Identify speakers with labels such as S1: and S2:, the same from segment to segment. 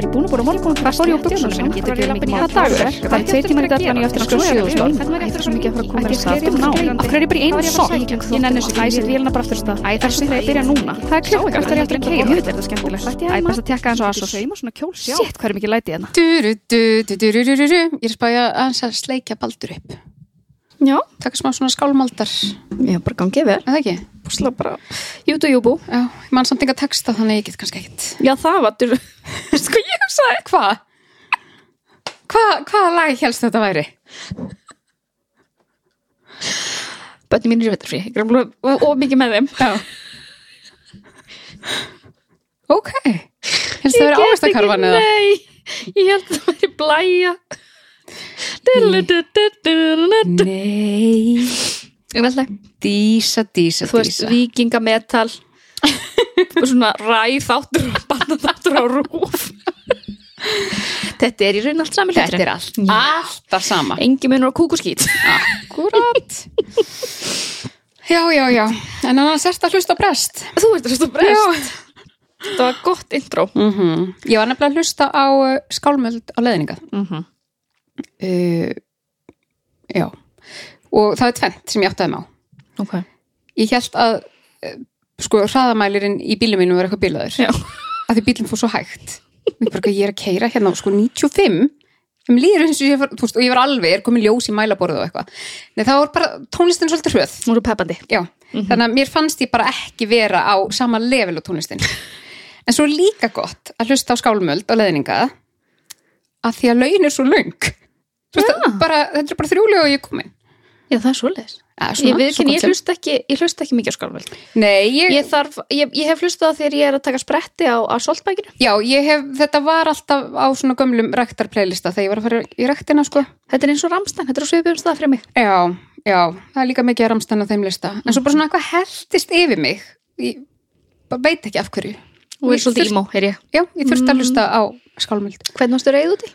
S1: ertu búin að búin að morgun og fara í buksunum sinum? Getur ekki lappin í
S2: Hvaða
S1: það dagur er? Það er tveir tímar í deadline, ég á eftir að skjóða sjöðustól.
S2: Hvernig
S1: Æ,
S2: var ég
S1: það
S2: eftir
S1: er svo mikið að fara að koma
S2: Æ,
S1: þér af
S2: ég
S1: stað. Þú
S2: skeri um
S1: ná,
S2: Grænlandi.
S1: af hverju er ég bara í
S2: Var
S1: einu
S2: ég bara
S1: sokk?
S2: sækjum
S1: Ég nenni þessu ekki, æ, setjum vélina bara aftur af stað. Æ, þessu þegar ég byrja núna. Það er klukkan, hvert er ég aftur að keyra? Jöfull, er þetta skemmtilegt. Æ, best að tékka aðeins á Asos. Shit, hvað er mikið læti hérna?
S3: Duru, du, du, du, du, du, du, du. Ég er spæja að hans að sleikja baldur upp.
S1: Já,
S3: Takk smá svona skálmaldar.
S1: ég hef bara gangið vel.
S3: Er það ekki?
S1: Búsla bara, jútu, júbú.
S3: Já, ég man samt enga texta þannig ég get kannski ekkit.
S1: Já, það var, þú
S3: Sko ég hugsaði, hvað? Hva, hvaða lag helst þetta væri?
S1: bönni mín er vetarfrí. Ég er búin að of mikið með þeim.
S3: Já. Ok. Helst það
S1: Ég
S3: verið
S1: get
S3: ávastakarfan
S1: ekki-
S3: eða?
S1: Nei, ég held að það væri blæja Dilludududududu.
S3: Nei.
S1: En alltaf,
S3: Dísa, dísa,
S1: Þú veist,
S3: dísa.
S1: vikingametal og svona ræð þáttur og banna þáttur á rúf Þetta er í raun allt saman
S3: Þetta er allt. Alltaf sama.
S1: Engi munur á kúkuskýt
S3: Akkurat. Já, já, já. En annars ert að hlusta á brest.
S1: Þú veist þessu brest, þetta var gott intro
S3: Mm Ég var nefnilega að hlusta á uh, skálmöld á leðninga. Uh, já. Og það er tvent sem ég áttaði mig á.
S1: Ok
S3: Ég held að uh, sko hraðamælirinn í bílum mínum var eitthvað bílaður.
S1: Já.
S3: Að því bílum fór svo hægt. Og Ég, bara, eitthvað, ég er að keira hérna á sko 95 um líður eins og ég var, þú veist, og ég var alveg, er komin ljós í mælaborðu og eitthvað. Nei, það var bara tónlistin svolítið hröð.
S1: Nú eru peppandi
S3: Já,
S1: Mhm.
S3: þannig að mér fannst ég bara ekki vera á sama level og tónlistin. En svo er líka gott að hlusta á skálmöld og leðninga að því að laun er svo löng. Þú veist,
S1: Já.
S3: bara, þetta er bara þrjúlega og ég er komin.
S1: Já, það er svoleiðis
S3: Eða svona,
S1: Ég veit
S3: svo
S1: ekki,
S3: gott
S1: ég
S3: sem-
S1: hlusta ekki, ég hlusta ekki mikið á skálmöld
S3: Nei, ég,
S1: ég, þarf, ég, ég hef hlustað á þegar ég er að taka spretti á, á soltbækinu.
S3: já, ég hef, þetta var alltaf á svona gömlum rektar playlista þegar ég var að fara í rektina, sko.
S1: Þetta er eins og ramstæn, þetta er á svipum stað fyrir mig.
S3: Já, já, það er líka mikið að ramstæna þeim lista. En svo bara svona eitthvað heltist yfir mig. Ég bara veit ekki af hverju.
S1: Og
S3: Ég
S1: er svolítið Mm.
S3: þurfti-
S1: ímó, er ég.
S3: Já, ég þurfti að hlusta á skálmöld.
S1: Hvernig ástu reyð út í?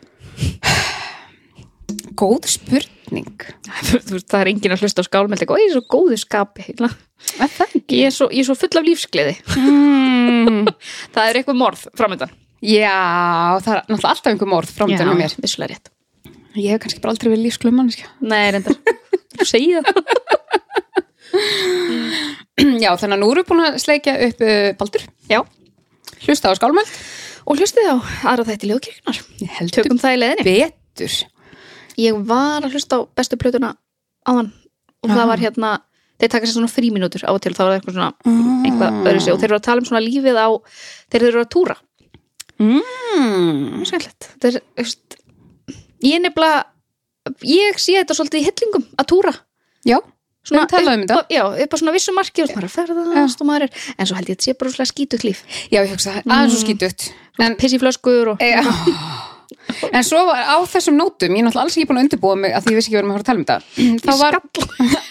S3: Góð spurning.
S1: það er enginn að hlusta á skálmöld og ég er svo góðu skapi. hérna.
S3: Er það ekki?
S1: Ég er svo, ég er svo full af lífsgleði.
S3: Mm,
S1: það er eitthvað morð framöndan.
S3: já, það er náttúrulega alltaf einhver morð framöndan með mér.
S1: vissulega rétt.
S3: Ég hef kannski bara aldrei verið lífsglum manneskja.
S1: Nei, reyndar. Þú segir það.
S3: Já, þannig að nú erum við búin að sleikja upp uh, Baldur,
S1: Já.
S3: hlusta á skálmöld.
S1: Og hlustið á aðra þætti ljóðkirkjunar.
S3: Heldur
S1: Tökum það í leiðinni.
S3: betur.
S1: Ég var að hlusta á bestu plötuna áðan og
S3: Já.
S1: það var hérna, þeir taka sér svona fríminútur á og til, þá var það eitthvað svona
S3: Ah.
S1: eitthvað öðru sig og
S3: sig.
S1: þeir eru að tala um svona lífið á þeir eru að túra
S3: Mm.
S1: Skemmtilegt. Þetta er, þú veist, ég nefnilega ég sé þetta svolítið í hillingum að túra
S3: Já,
S1: svona
S3: Við talaðum um
S1: upp, á- já, upp á svona vissu marki og maður er að ferðast og maður er en svo held ég að þetta sé bara svolítið skítugt líf
S3: já, ég hugsa það. Aðeins og skýtut. En,
S1: pissi flöskur og
S3: e, en svo var á þessum nótum, ég er náttúrulega alls ekki búin að undirbúa mig að því ég vissi ekki verið að fara að tala um þetta. Þá var...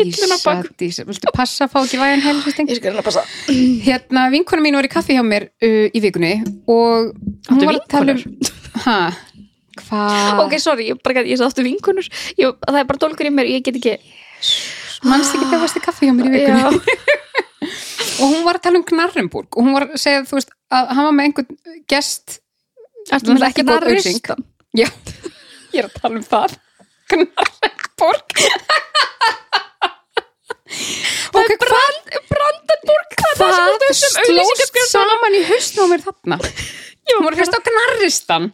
S1: Tillin á bak.
S3: dísa. Viltu passa að fá ekki vægan helvisting?
S1: ég skal hérna passa
S3: Hérna, vinkona mín var í kaffi hjá mér uh, í vikunni og hún
S1: Áttu
S3: var að tala um... Hæ? Hvað?
S1: ok, sorry, ég, bara, gat- ég sagði áttu vinkunur ég, það er bara dólkur í mér, ég get ekki
S3: Manst ekki þegar varst í kaffi hjá mér í vikunni?
S1: já,
S3: Og hún var að tala um Knarrenburg og hún var að segja, þú veist, að hann var með einhvern gest...
S1: ertu með
S3: Ekki
S1: ekki
S3: bók
S1: bara
S3: auglýsing. Já, ég er að tala um það. Knarrenburg. ok, hvað,
S1: Brandenburg, hvað er það
S3: hvað
S1: sem þú
S3: slóst saman í haustum á mér þarna? Hún var að hlusta á Knarristan.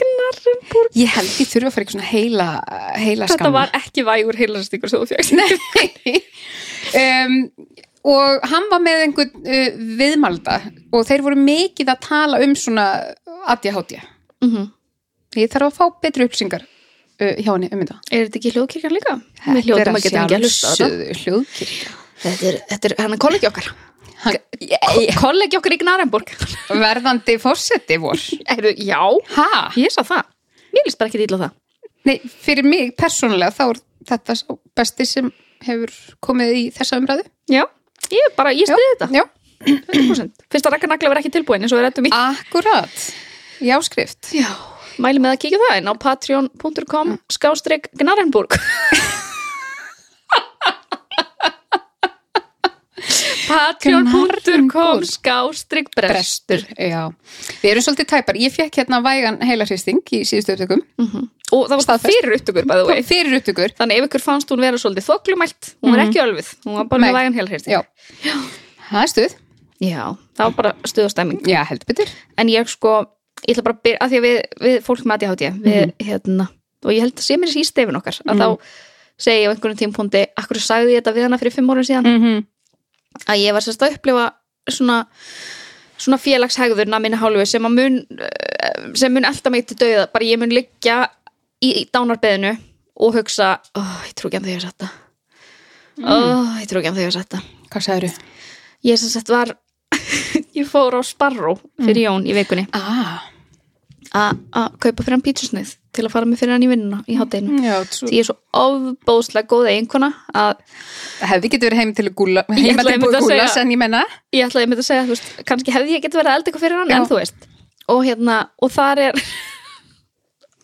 S1: Knarrenburg
S3: Ég held ég þurfa að fara eitthvað svona heila, heila
S1: þetta var ekki vægur heilarstingur sem þú fjögst
S3: um, og hann var með einhvern uh, viðmalda og þeir voru mikið að tala um svona ADHD
S1: mm -hmm.
S3: ég þarf að fá betri upplýsingar uh, hjá henni um þetta
S1: Er þetta ekki hljóðkirkjan líka? Við hljóðum að geta ekki að hlusta á þetta.
S3: hljóðkirkja
S1: Þetta er, þetta er hann er kollegi okkar.
S3: Hann-
S1: Kollegi okkar í Gnarenborg.
S3: verðandi fórseti vor
S1: Eru, já,
S3: ha?
S1: ég sá það. Mér líst bara ekki dýla það.
S3: Nei, fyrir mig persónulega þá er þetta sá besti sem hefur komið í þessa umræðu
S1: Já, ég bara, ég stiði þetta.
S3: já,
S1: 100%. Fyrst að Ragnar Nagla verið ekki tilbúin eins og við rettum í.
S3: akkurat í áskrift
S1: Ah, Já. Ah. Mæli með að kíkja það inn á patreon.com skástrygg Gnarenborg. Patreon.com
S3: Gnarringur.
S1: skástrygg brestur
S3: brestur, já við erum svolítið tæpar, ég fekk hérna vægan heilarhristing í síðustu upptökum
S1: og það var
S3: Staðfest.
S1: fyrir upptökur by the way
S3: fyrir upptökur,
S1: þannig ef ykkur fannst hún vera svolítið þoklumælt hún var ekki ölfið, hún var bara
S3: Mhm. Nei.
S1: með vægan helherst
S3: já það er stuð,
S1: já, það var bara stuðastemming
S3: já heldur betur
S1: en ég sko, ég ætla bara að byrja að því að við, við fólk með ADHD við,
S3: Mhm.
S1: hérna, og ég held að sé mér þessi í stefin okkar að þá segi ég á einhvern tímpúndi akkur sagði ég þetta við hana fyrir fimm árum síðan
S3: mm -hmm.
S1: að ég var sérst að upplifa svona svona félagshegðurna minna hálfu sem að mun eh, sem mun alltaf mig til dauða bara ég mun liggja í, í dánarbeðinu og hugsa, oh, ég trú ekki að þau að þetta oh, ég trú ekki að þau að þetta
S3: hvað sagður
S1: ég sem sett var ég fór á Sparrow fyrir Jón í vikunni
S3: ah,
S1: a- að kaupa fyrir hann pítsusneið til að fara með fyrir hann í vinnuna í hátdeinu
S3: já, trú.
S1: því ég er svo ofbóðslega góð einkona að
S3: hefði getið verið heim til að gúla
S1: Ég ætlaði
S3: heima til
S1: einmitt
S3: búið
S1: að
S3: gúla
S1: segja-
S3: en ég menna
S1: ég ætlaði einmitt að segja, þú veist, kannski hefði ég getið verið að elda eitthvað fyrir hann,
S3: Já.
S1: en þú veist og hérna, og þar er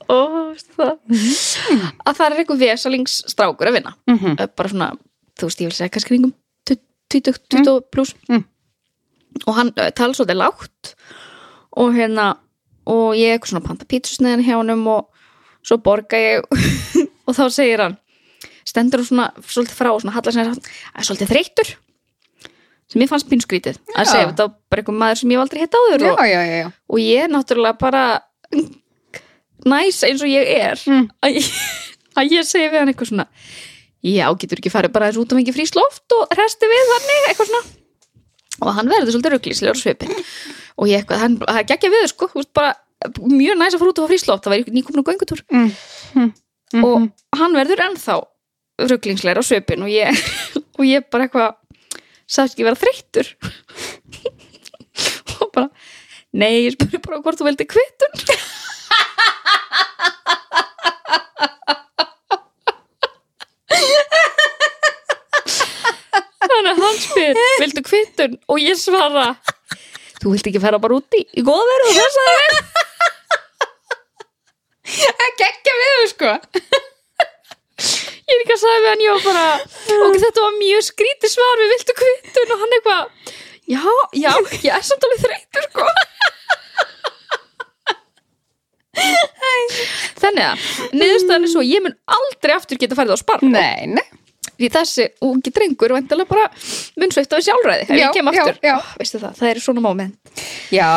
S1: ó, veistu það
S3: Mhm.
S1: að þar er einhver vesalingsstrákur að vinna, Eh,
S3: mm -hmm.
S1: bara svona þú veist, ég vil segja kannski kringum 20, 20 pluss
S3: Mm.
S1: og hann uh, tala svolítið lágt og hérna og ég eitthvað svona panta pítsusneiðan hjá honum og svo borga ég og þá segir hann stendur hann svona svolítið frá og svona hallar sér að svolítið þreyttur sem ég fannst pínskrítið að
S3: Já.
S1: segja þetta var bara einhver maður sem ég hef aldrei hitt áður
S3: já,
S1: og,
S3: já, já, já.
S1: og ég er náttúrulega bara næs eins og ég er
S3: Mm.
S1: að, ég, að ég segi við hann eitthvað svona já, getur ekki farið bara aðeins út af mikið frísloft og resti við þannig, eitthvað svona og hann verður svolítið rugglíslegur á svipin og ég eitthvað, hann, hann geggja við sko, þú veist, bara mjög næs að fara út af frísloft, það væri nýkomin á göngutúr
S3: Mm. Mm. Mm -hmm.
S1: og hann verður ennþá rugglingslegur á svipin og ég, og ég bara eitthvað sagðist ekki vera þreyttur og bara nei, ég spurði bara hvort þú veldi kvittun þannig að hann spyr vildu kvittun og ég svara þú vilt ekki fara bara úti í góðverð og þess að
S3: geggja við þau sko
S1: Ég er ekki að sagði við hann, ég var bara og þetta var mjög skrítið svar við viltu kvittun og hann eitthvað já, já, ég er samt alveg þreytur sko Þannig að niðurstaðan er svo, ég mun aldrei aftur geta farið á sparn
S3: nei, nei
S1: því þessi ungi drengur vandilega bara mun sveitt á sjálfræði ef
S3: Já,
S1: ég kem
S3: já,
S1: aftur,
S3: já.
S1: Ó, veistu það, það er svona moment
S3: Já,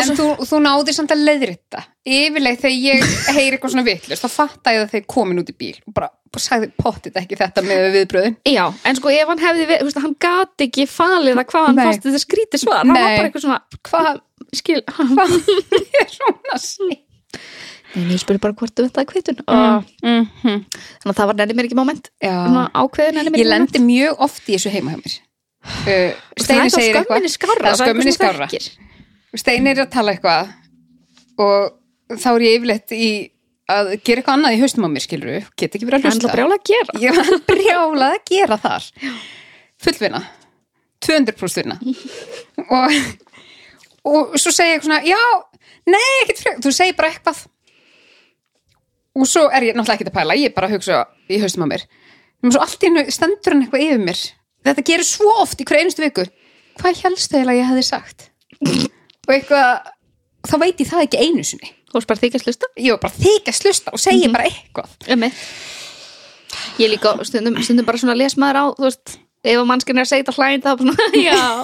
S3: en
S1: svo-
S3: þú, þú náðir samt að leiðrita yfirleið þegar ég heyri eitthvað svona vitlust þá fatta ég að þeir komin út í bíl og bara, bara sagði pottit ekki þetta með viðbröðin
S1: Já, en sko ef hann hefði, við- þú veist, hann gat ekki falið að hvað hann
S3: Nei.
S1: fannst þetta skrítið svar, hann var
S3: Nei.
S1: bara eitthvað svona hvað, skil,
S3: Ég er svona sný
S1: Nei, ég spurði bara hvort þú veit að kvitun
S3: mm. mm
S1: Mhm. Þannig að það var nefnir mér ekki moment Svona
S3: Já,
S1: ákveðin nefnir
S3: ég lendi mjög oft í þessu heima hjá mér uh, Steini segir eitthvað
S1: skarra,
S3: Það er skömminni skárra. Steini er að tala eitthvað og þá er ég yfirleitt í að gera eitthvað annað í haustum á mér skilur get ekki verið að
S1: Það er
S3: hlusta
S1: alltaf brjála að gera
S3: ég var brjálað að gera þar fullvinna 200% vinna og, og svo segi ég eitthvað svona já, nei, ekkert frek þú segir bara eitthvað og svo er ég náttúrulega ekkert að pæla ég er bara að hugsa í haustum á mér og svo allt í hennu stendur hann eitthvað yfir mér þetta gerir svo oft í hverju einustu viku hvað helst þegar ég hefði sagt og eitthvað þá veit ég það ekki einu sinni
S1: Þú veist bara þykist lusta
S3: ég var bara þykast hlusta og segi bara eitthvað
S1: Emme. Ég líka stundum, stundum bara svona les maður á Þú veist, ef að mannskinn er að segja þetta hlæn Það er bara svona, já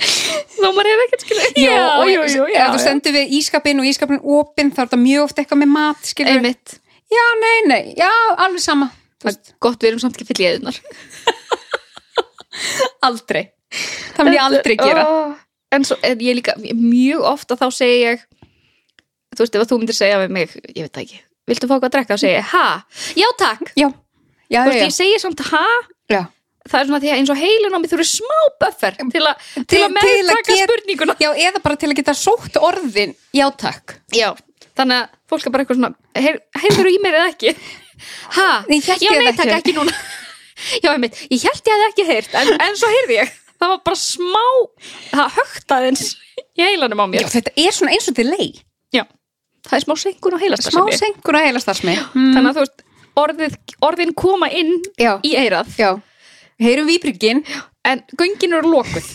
S1: Þá maður hefur ekkert skilja
S3: Jó, og
S1: jú, jú, já,
S3: ef þú
S1: já.
S3: stendur við ískapin og ískapin opinn þá er þetta mjög oft eitthvað með mat skilur.
S1: Einmitt,
S3: Já, nei, nei, já, alveg sama Þú
S1: það
S3: veist,
S1: er gott við erum samt ekki fyrir liðunar
S3: Aldrei Það vil ég aldrei gera
S1: oh. en, svo, en ég líka, mjög ofta þá segi ég þú veist, ef að þú myndir segja við mig, ég veit það ekki, viltu fá eitthvað að drekka og segi ég, ha, já takk
S3: Já, já,
S1: þú veist,
S3: já,
S1: ég segi samt ha,
S3: já. já.
S1: það er svona því að eins og heilin á mig þurfi smá buffer til, a, til, að meðtaka
S3: get-
S1: spurninguna
S3: Já, eða bara til að geta sótt orðin Já, takk
S1: já, þannig að fólk er bara eitthvað svona heyr- heyrðirðu í mér eða ekki ha,
S3: Ég hélt
S1: já
S3: ég
S1: nei
S3: það
S1: takk
S3: ekki.
S1: ekki núna já, einmitt, ég held ég að það ekki heyrt en, en svo heyrði ég, það var bara smá það högtaðins í heilanum á
S3: Já,
S1: mér
S3: þetta er svona eins og til lei
S1: Já, það er smá senkun og
S3: Smá
S1: heilastarfsemi
S3: sengur að heila starfsmi
S1: Þannig að þú veist, orðið, orðin koma inn
S3: Já,
S1: í eirað
S3: já, heyrum výbryggin
S1: en göngin eru lokuð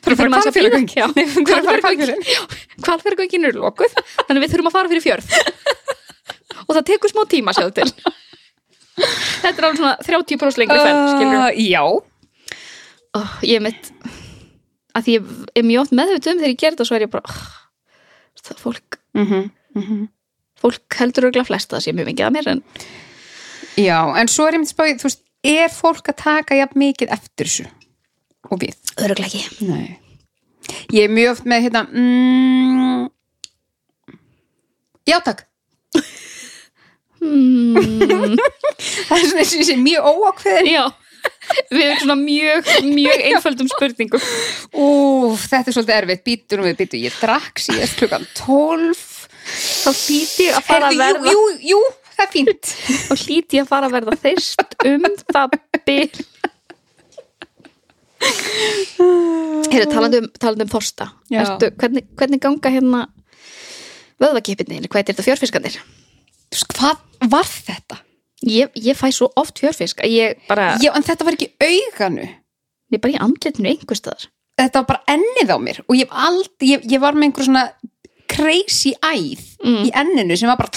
S3: Þurfum að fara
S1: Þurfum aðeins
S3: Hvalfjörðargöng.
S1: bíða.
S3: Nei, þurfum að fara
S1: Hvalfjörðargöng. Já, Hvalfjörðargöngin eru lokuð þannig að við þurfum að fara fyrir fjörð og það tekur smá tíma sjáðu til þetta er alveg svona 30% lengri ferð skilur
S3: uh, já,
S1: oh, ég er mitt að því ég er mjög oft meðvituð um þegar ég ger þetta svo er ég bara oh, það fólk,
S3: mm
S1: mhm. fólk heldur örgla flest að það sé mjög mikið að mér en
S3: já en svo er einmitt spáðið, þú veist, er fólk að taka jafn mikið eftir þessu og við
S1: örgla ekki
S3: Nei. Ég er mjög oft með hérna mm, Já takk
S1: hmm,
S3: Það er svona eins og ég sé mjög óákveðin
S1: já við erum svona mjög, mjög einföldum spurningum
S3: Úf, þetta er svolítið erfitt Býtur við, býtur, ég drakk síðast klukkan 12
S1: þá hlýti ég að fara að
S3: Heyrðu,
S1: verða
S3: jú, jú, jú, það er fínt
S1: þá hlýti ég að fara að verða þyrst um það byrj Heyrðu, talandi um, talandi um þorsta
S3: Já.
S1: Ertu, hvernig, hvernig ganga hérna vöðvakipinni, hvað er þetta fjörfiskandir?
S3: Þú veist, Hvað var þetta?
S1: Ég, ég fæ svo oft fjörfisk að ég bara,
S3: Já, en þetta var ekki í auganu
S1: ég er bara í andlitinu einhverstaðar.
S3: Þetta var bara ennið á mér og ég, hef aldrei, ég, ég var með einhver svona crazy æð
S1: Mm.
S3: í enninu sem var bara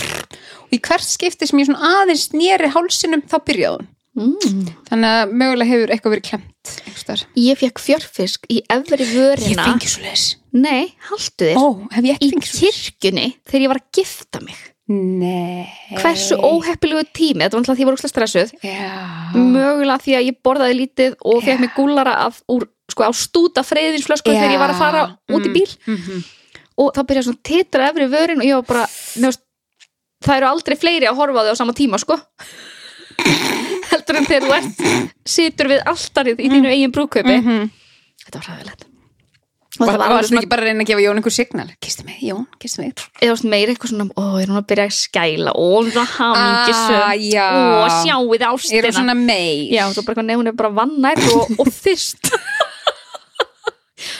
S3: og í hvert skipti sem ég svona aðeins nýri hálsinum þá byrjaði hún
S1: Mm.
S3: Þannig að mögulega hefur eitthvað verið klemt einhverstaðar.
S1: Ég fekk fjörfisk í efri
S3: Ég
S1: vörina.
S3: fengi svo leis.
S1: Nei, haldu þér.
S3: Ó, hef
S1: í
S3: ég ekki fengið svo leis?
S1: kirkjunni þegar ég var að gifta mig.
S3: Nei.
S1: Hversu óheppilegu tími, þetta var alltaf því að ég var úrslega stressuð.
S3: Já.
S1: Mögulega því að ég borðaði lítið og
S3: Já.
S1: fekk mig gúllara af, úr, sko, á stúta freyðinsflösku þegar ég var að fara
S3: Já.
S1: út í bíl.
S3: Mm -hmm.
S1: og það byrjaði svona að titra efri vörin og ég var bara, nefnst, það eru aldrei fleiri að horfa á þig á sama tíma, sko heldur en þegar þú ert situr við alltarið í
S3: Mm.
S1: þínu eigin brúkaupi
S3: Mhm.
S1: þetta var hræðilegt og það var alveg svona,
S3: ekki bara að reyna að gefa Jón einhver signal. Kistu mig, Jón, kistu mig.
S1: eða svona meira eitthvað svona ó, er hún að byrja að skæla, ó, hún er að hamingisum,
S3: Ah, já.
S1: ó, sjáuð
S3: Ég er
S1: ástina
S3: svona mei.
S1: já, þú bara, nefnir, hún er bara vannær og, og þyrst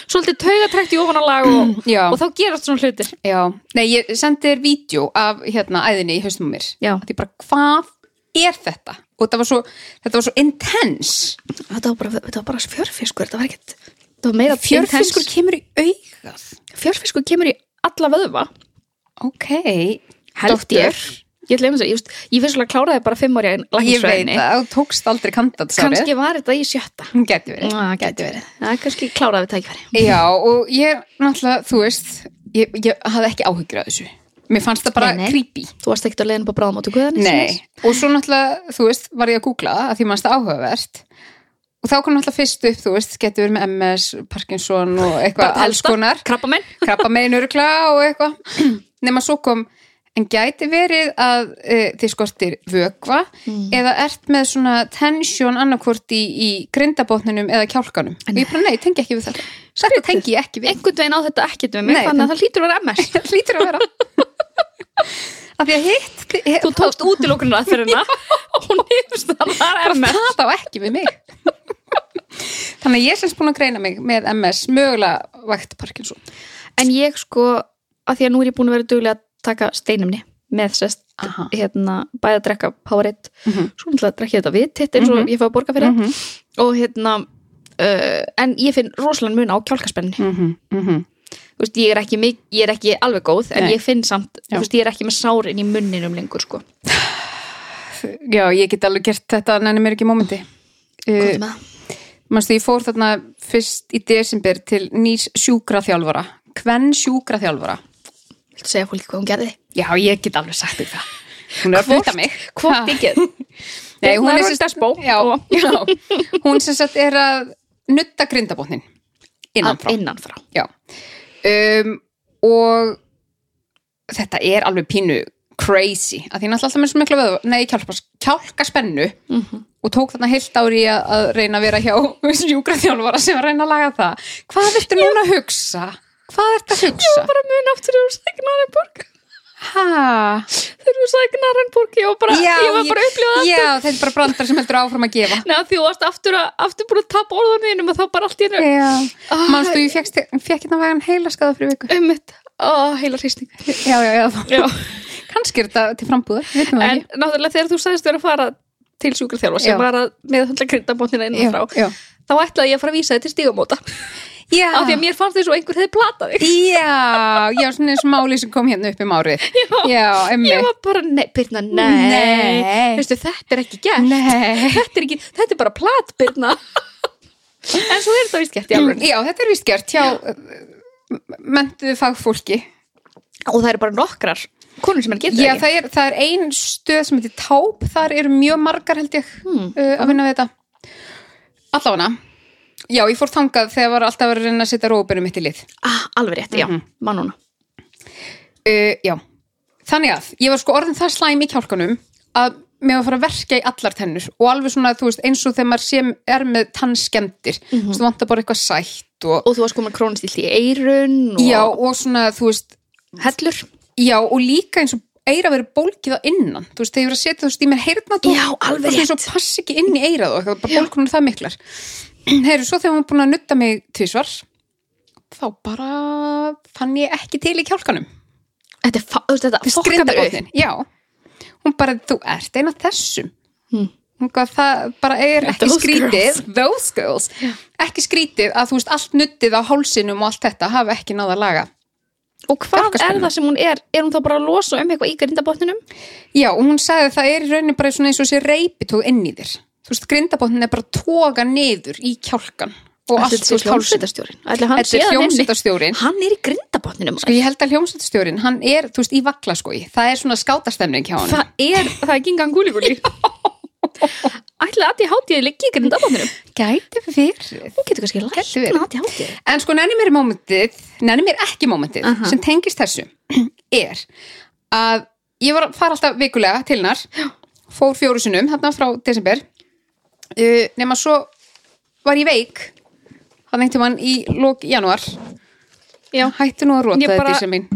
S1: svolítið taugatrekt í ofanalag og,
S3: Já.
S1: og þá gerast svona hlutir
S3: Já. Nei, ég sendi þér vídeo af hérna æðinni í haustum á mér.
S1: Já.
S3: Því bara, hvað er þetta? Og þetta var svo, þetta var svo intense.
S1: þetta var bara, þetta var bara fjörfiskur þetta var ekkert þetta var meira
S3: Fjörfiskur
S1: intense.
S3: kemur í augað.
S1: fjörfiskur kemur í alla vöðva
S3: Ok.
S1: held ég ég ætla einhvers að ég, veist, ég finnst alveg að klára það bara fimm ári
S3: Ég veit
S1: lækinsvæðinni
S3: að þú tókst aldrei kandidatsárið.
S1: kannski var þetta í sjötta
S3: Hún geti verið.
S1: það gæti verið það Mm. kannski kláraði við tækifæri
S3: Já, og ég, náttúrulega, þú veist, ég, ég hafði ekki áhyggjur af þessu. Mér fannst það bara
S1: Nei, nei.
S3: creepy.
S1: þú varst ekkert að leiðin bara bráðum á tökkuðan
S3: Nei, og svo náttúrulega, þú veist, var ég að googla það, að því mannst það áhugavert. Og þá kom náttúrulega fyrst upp, þú veist, getur verið með MS, Parkinson og eitthvað alls konar.
S1: krabba minn
S3: Krabba megin örgla og eitthvað. Nefn að svo kom, en gæti verið að e, þið skortir vökva eða ert með svona tension annarkvort í, í grindabotninum eða kjálkanum. Og ég bara, nei, tengi ekki við þetta. Þetta tengi ég ekki við.
S1: einhvern veginn á þetta ekkert við mig
S3: Nei,
S1: þannig að það hlýtur að vera MS
S3: Það hlýtur að vera af því að hitt
S1: þú tókst útilokunar að fyrir hana hún nýðust að það var MS
S3: það á ekki við mig þannig að ég er semst búin að greina mig með MS mögulega vægt Parkinson
S1: En ég sko, að því að nú er ég búin að vera duglega að taka steinumni með sest,
S3: Aha.
S1: hérna, bæði að drekka Powerade,
S3: Mhm.
S1: svo náttúrulega að drekka þetta við titt eins og ég fæði að borga fyrir það og hérna, uh, en ég finn rosalega mun á kjálkaspenninni
S3: mm -hmm, mm -hmm.
S1: þú veist, ég er ekki, mik- ég er ekki alveg góð en
S3: Nei.
S1: ég finn samt,
S3: Já.
S1: þú veist, ég er ekki með sárin í munninum lengur, sko
S3: já, ég get alveg gert þetta en ennum er ekki í mómenti
S1: Hvað er
S3: uh,
S1: með það?
S3: mannstu, ég fór þarna fyrst í desember til nýs sjúkraþjálfara hvern sjúkraþjálfara
S1: Viltu segja fólki hvað hún gerði?
S3: já, ég get alveg sagt þig það hún er að flytta mig
S1: Hvort
S3: Ha.
S1: ekki?
S3: Nei, hún
S1: Birna
S3: er
S1: úr
S3: sem
S1: Desbó
S3: já,
S1: og-
S3: já, hún sem sagt er að nutta grindabotnin innanfrá
S1: Að- Innanfrá.
S3: já. Um, og þetta er alveg pínu crazy, að því ég náttúrulega alltaf með svo mikla veðu, nei, kjálpa, kjálka spennu
S1: Mhm.
S3: og tók þarna heilt ári að, að reyna að vera hjá sjúkraþjálfara sem var að reyna að laga það hvað ertu núna að hugsa? hvað ertu að hugsa?
S1: Bara mun aftur þegar þú segnar en borga
S3: Hæ?
S1: þegar þú segnar en borga ég var bara, ég var bara að upplifa það
S3: já, þetta er bara brandar sem heldur áfram að gefa
S1: Nei, af því þú varst aftur, að- aftur búin að tapa orðaninu og þá bara allt í hennu
S3: Já, mannstu, Ah. ég fekk, fekk hérna vægan heila skaða fyrir viku.
S1: um mitt, ó, heila hrýsting
S3: Já, já, já,
S1: Já,
S3: kannski er þetta til frambúðar, við veitum það
S1: en
S3: ekki.
S1: náttúrulega þegar þú sagðist vera að fara til sjúkraþjálfa sem
S3: Já.
S1: var að með hundla kryddabóttina
S3: já,
S1: innan frá
S3: já.
S1: þá ætlaði ég að fara að vísa þið til stígamóta
S3: Já,
S1: af því að mér fannst þess að einhver hefði platað þig
S3: já, já, svona eins og máli sem kom hérna upp um árið. Já, já emmi.
S1: ég var bara, nei, Birna, nei
S3: Nei.
S1: veistu, þetta er ekki gert
S3: Nei.
S1: þetta, er ekki, þetta er bara plat, Birna en svo er þetta víst gert í alveg
S3: Já, þetta er víst gert hjá mentuðu fagfólki.
S1: og það eru bara nokkrar konur sem er getur
S3: Já,
S1: ekki
S3: það er, það er ein stöð sem heitir Táp, þar eru mjög margar held ég
S1: Hmm,
S3: uh, að vinna við þetta. Allána. Já, ég fór þangað þegar var alltaf að vera að reyna að setja róbunum mitt í lið.
S1: ah, alveg rétt, já, mm -hmm. mannuna
S3: Uh, já, þannig að ég var sko orðin það slæm í kjálkanum að mér var að fara að verka í allar tennur og alveg svona, þú veist, eins og þegar maður sem er með tannskemdir, mm -hmm. þú vantar bara eitthvað sætt
S1: Mhm.
S3: og,
S1: og þú varst komin krónistilt í eirun og
S3: já, og svona, þú veist,
S1: hellur
S3: já, og líka eins og eira verið bólkið á innan, þú veist, þegar ég var að setja þú veist í mér heyrnatól,
S1: Já, alveg
S3: og svo pass ekki inn í eirað og eitthvað, bara bólkunum það miklar. Heyru, svo þegar hún var búin að nutta mig tvisvar, þá bara fann ég ekki til í kjálkanum.
S1: þetta, er fa- þú veist, þetta fokkar mér upp
S3: Grindabotnin, já Hún bara, þú ert eina þessum
S1: Hmm.
S3: Hún bara, það bara er ekki
S1: Those
S3: skrítið Those girls Ekki skrítið að þú veist allt nuttið á hálsinum og allt þetta hafa ekki náða að laga
S1: og hvað er
S3: Kjálkaspennu.
S1: það sem hún er er hún þá bara að losa um eitthvað í grindabotninum
S3: Já, og hún sagði að það er í rauninni bara svona eins og sé reypitóð inn í þér Þú veist, grindabotnin er bara að toga niður í kjálkan og allt
S1: Ætli
S3: þú
S1: þetta
S3: veist hálsin
S1: hljómsveitarstjórinn Ætli hann
S3: Þetta
S1: sé
S3: er
S1: þarna inni?
S3: hljómsveitarstjórinn
S1: hann er í grindabotninum
S3: Sko, ég held að hljómsveitastjórin, hann er, þú veist, í vakla Það er svona skátastemning hjá hann
S1: það er, það er gingan gúli-gúli ætla að ég hátíði liggi í grindabotninum
S3: Gæti fyrir
S1: hún getur kannski um
S3: Gæti
S1: lækna
S3: verið.
S1: að ég hátíði
S3: En sko nenni mér mómentið, nenni mér ekki mómentið sem tengist þessu er að ég var að fara alltaf vikulega til hennar, fór fjóru sinnum þarna frá desember uh, nema svo var ég veik það nefnti mann í lók januar
S1: Já.
S3: hættu nú að róta
S1: Ég
S3: þetta
S1: bara-
S3: bara... mín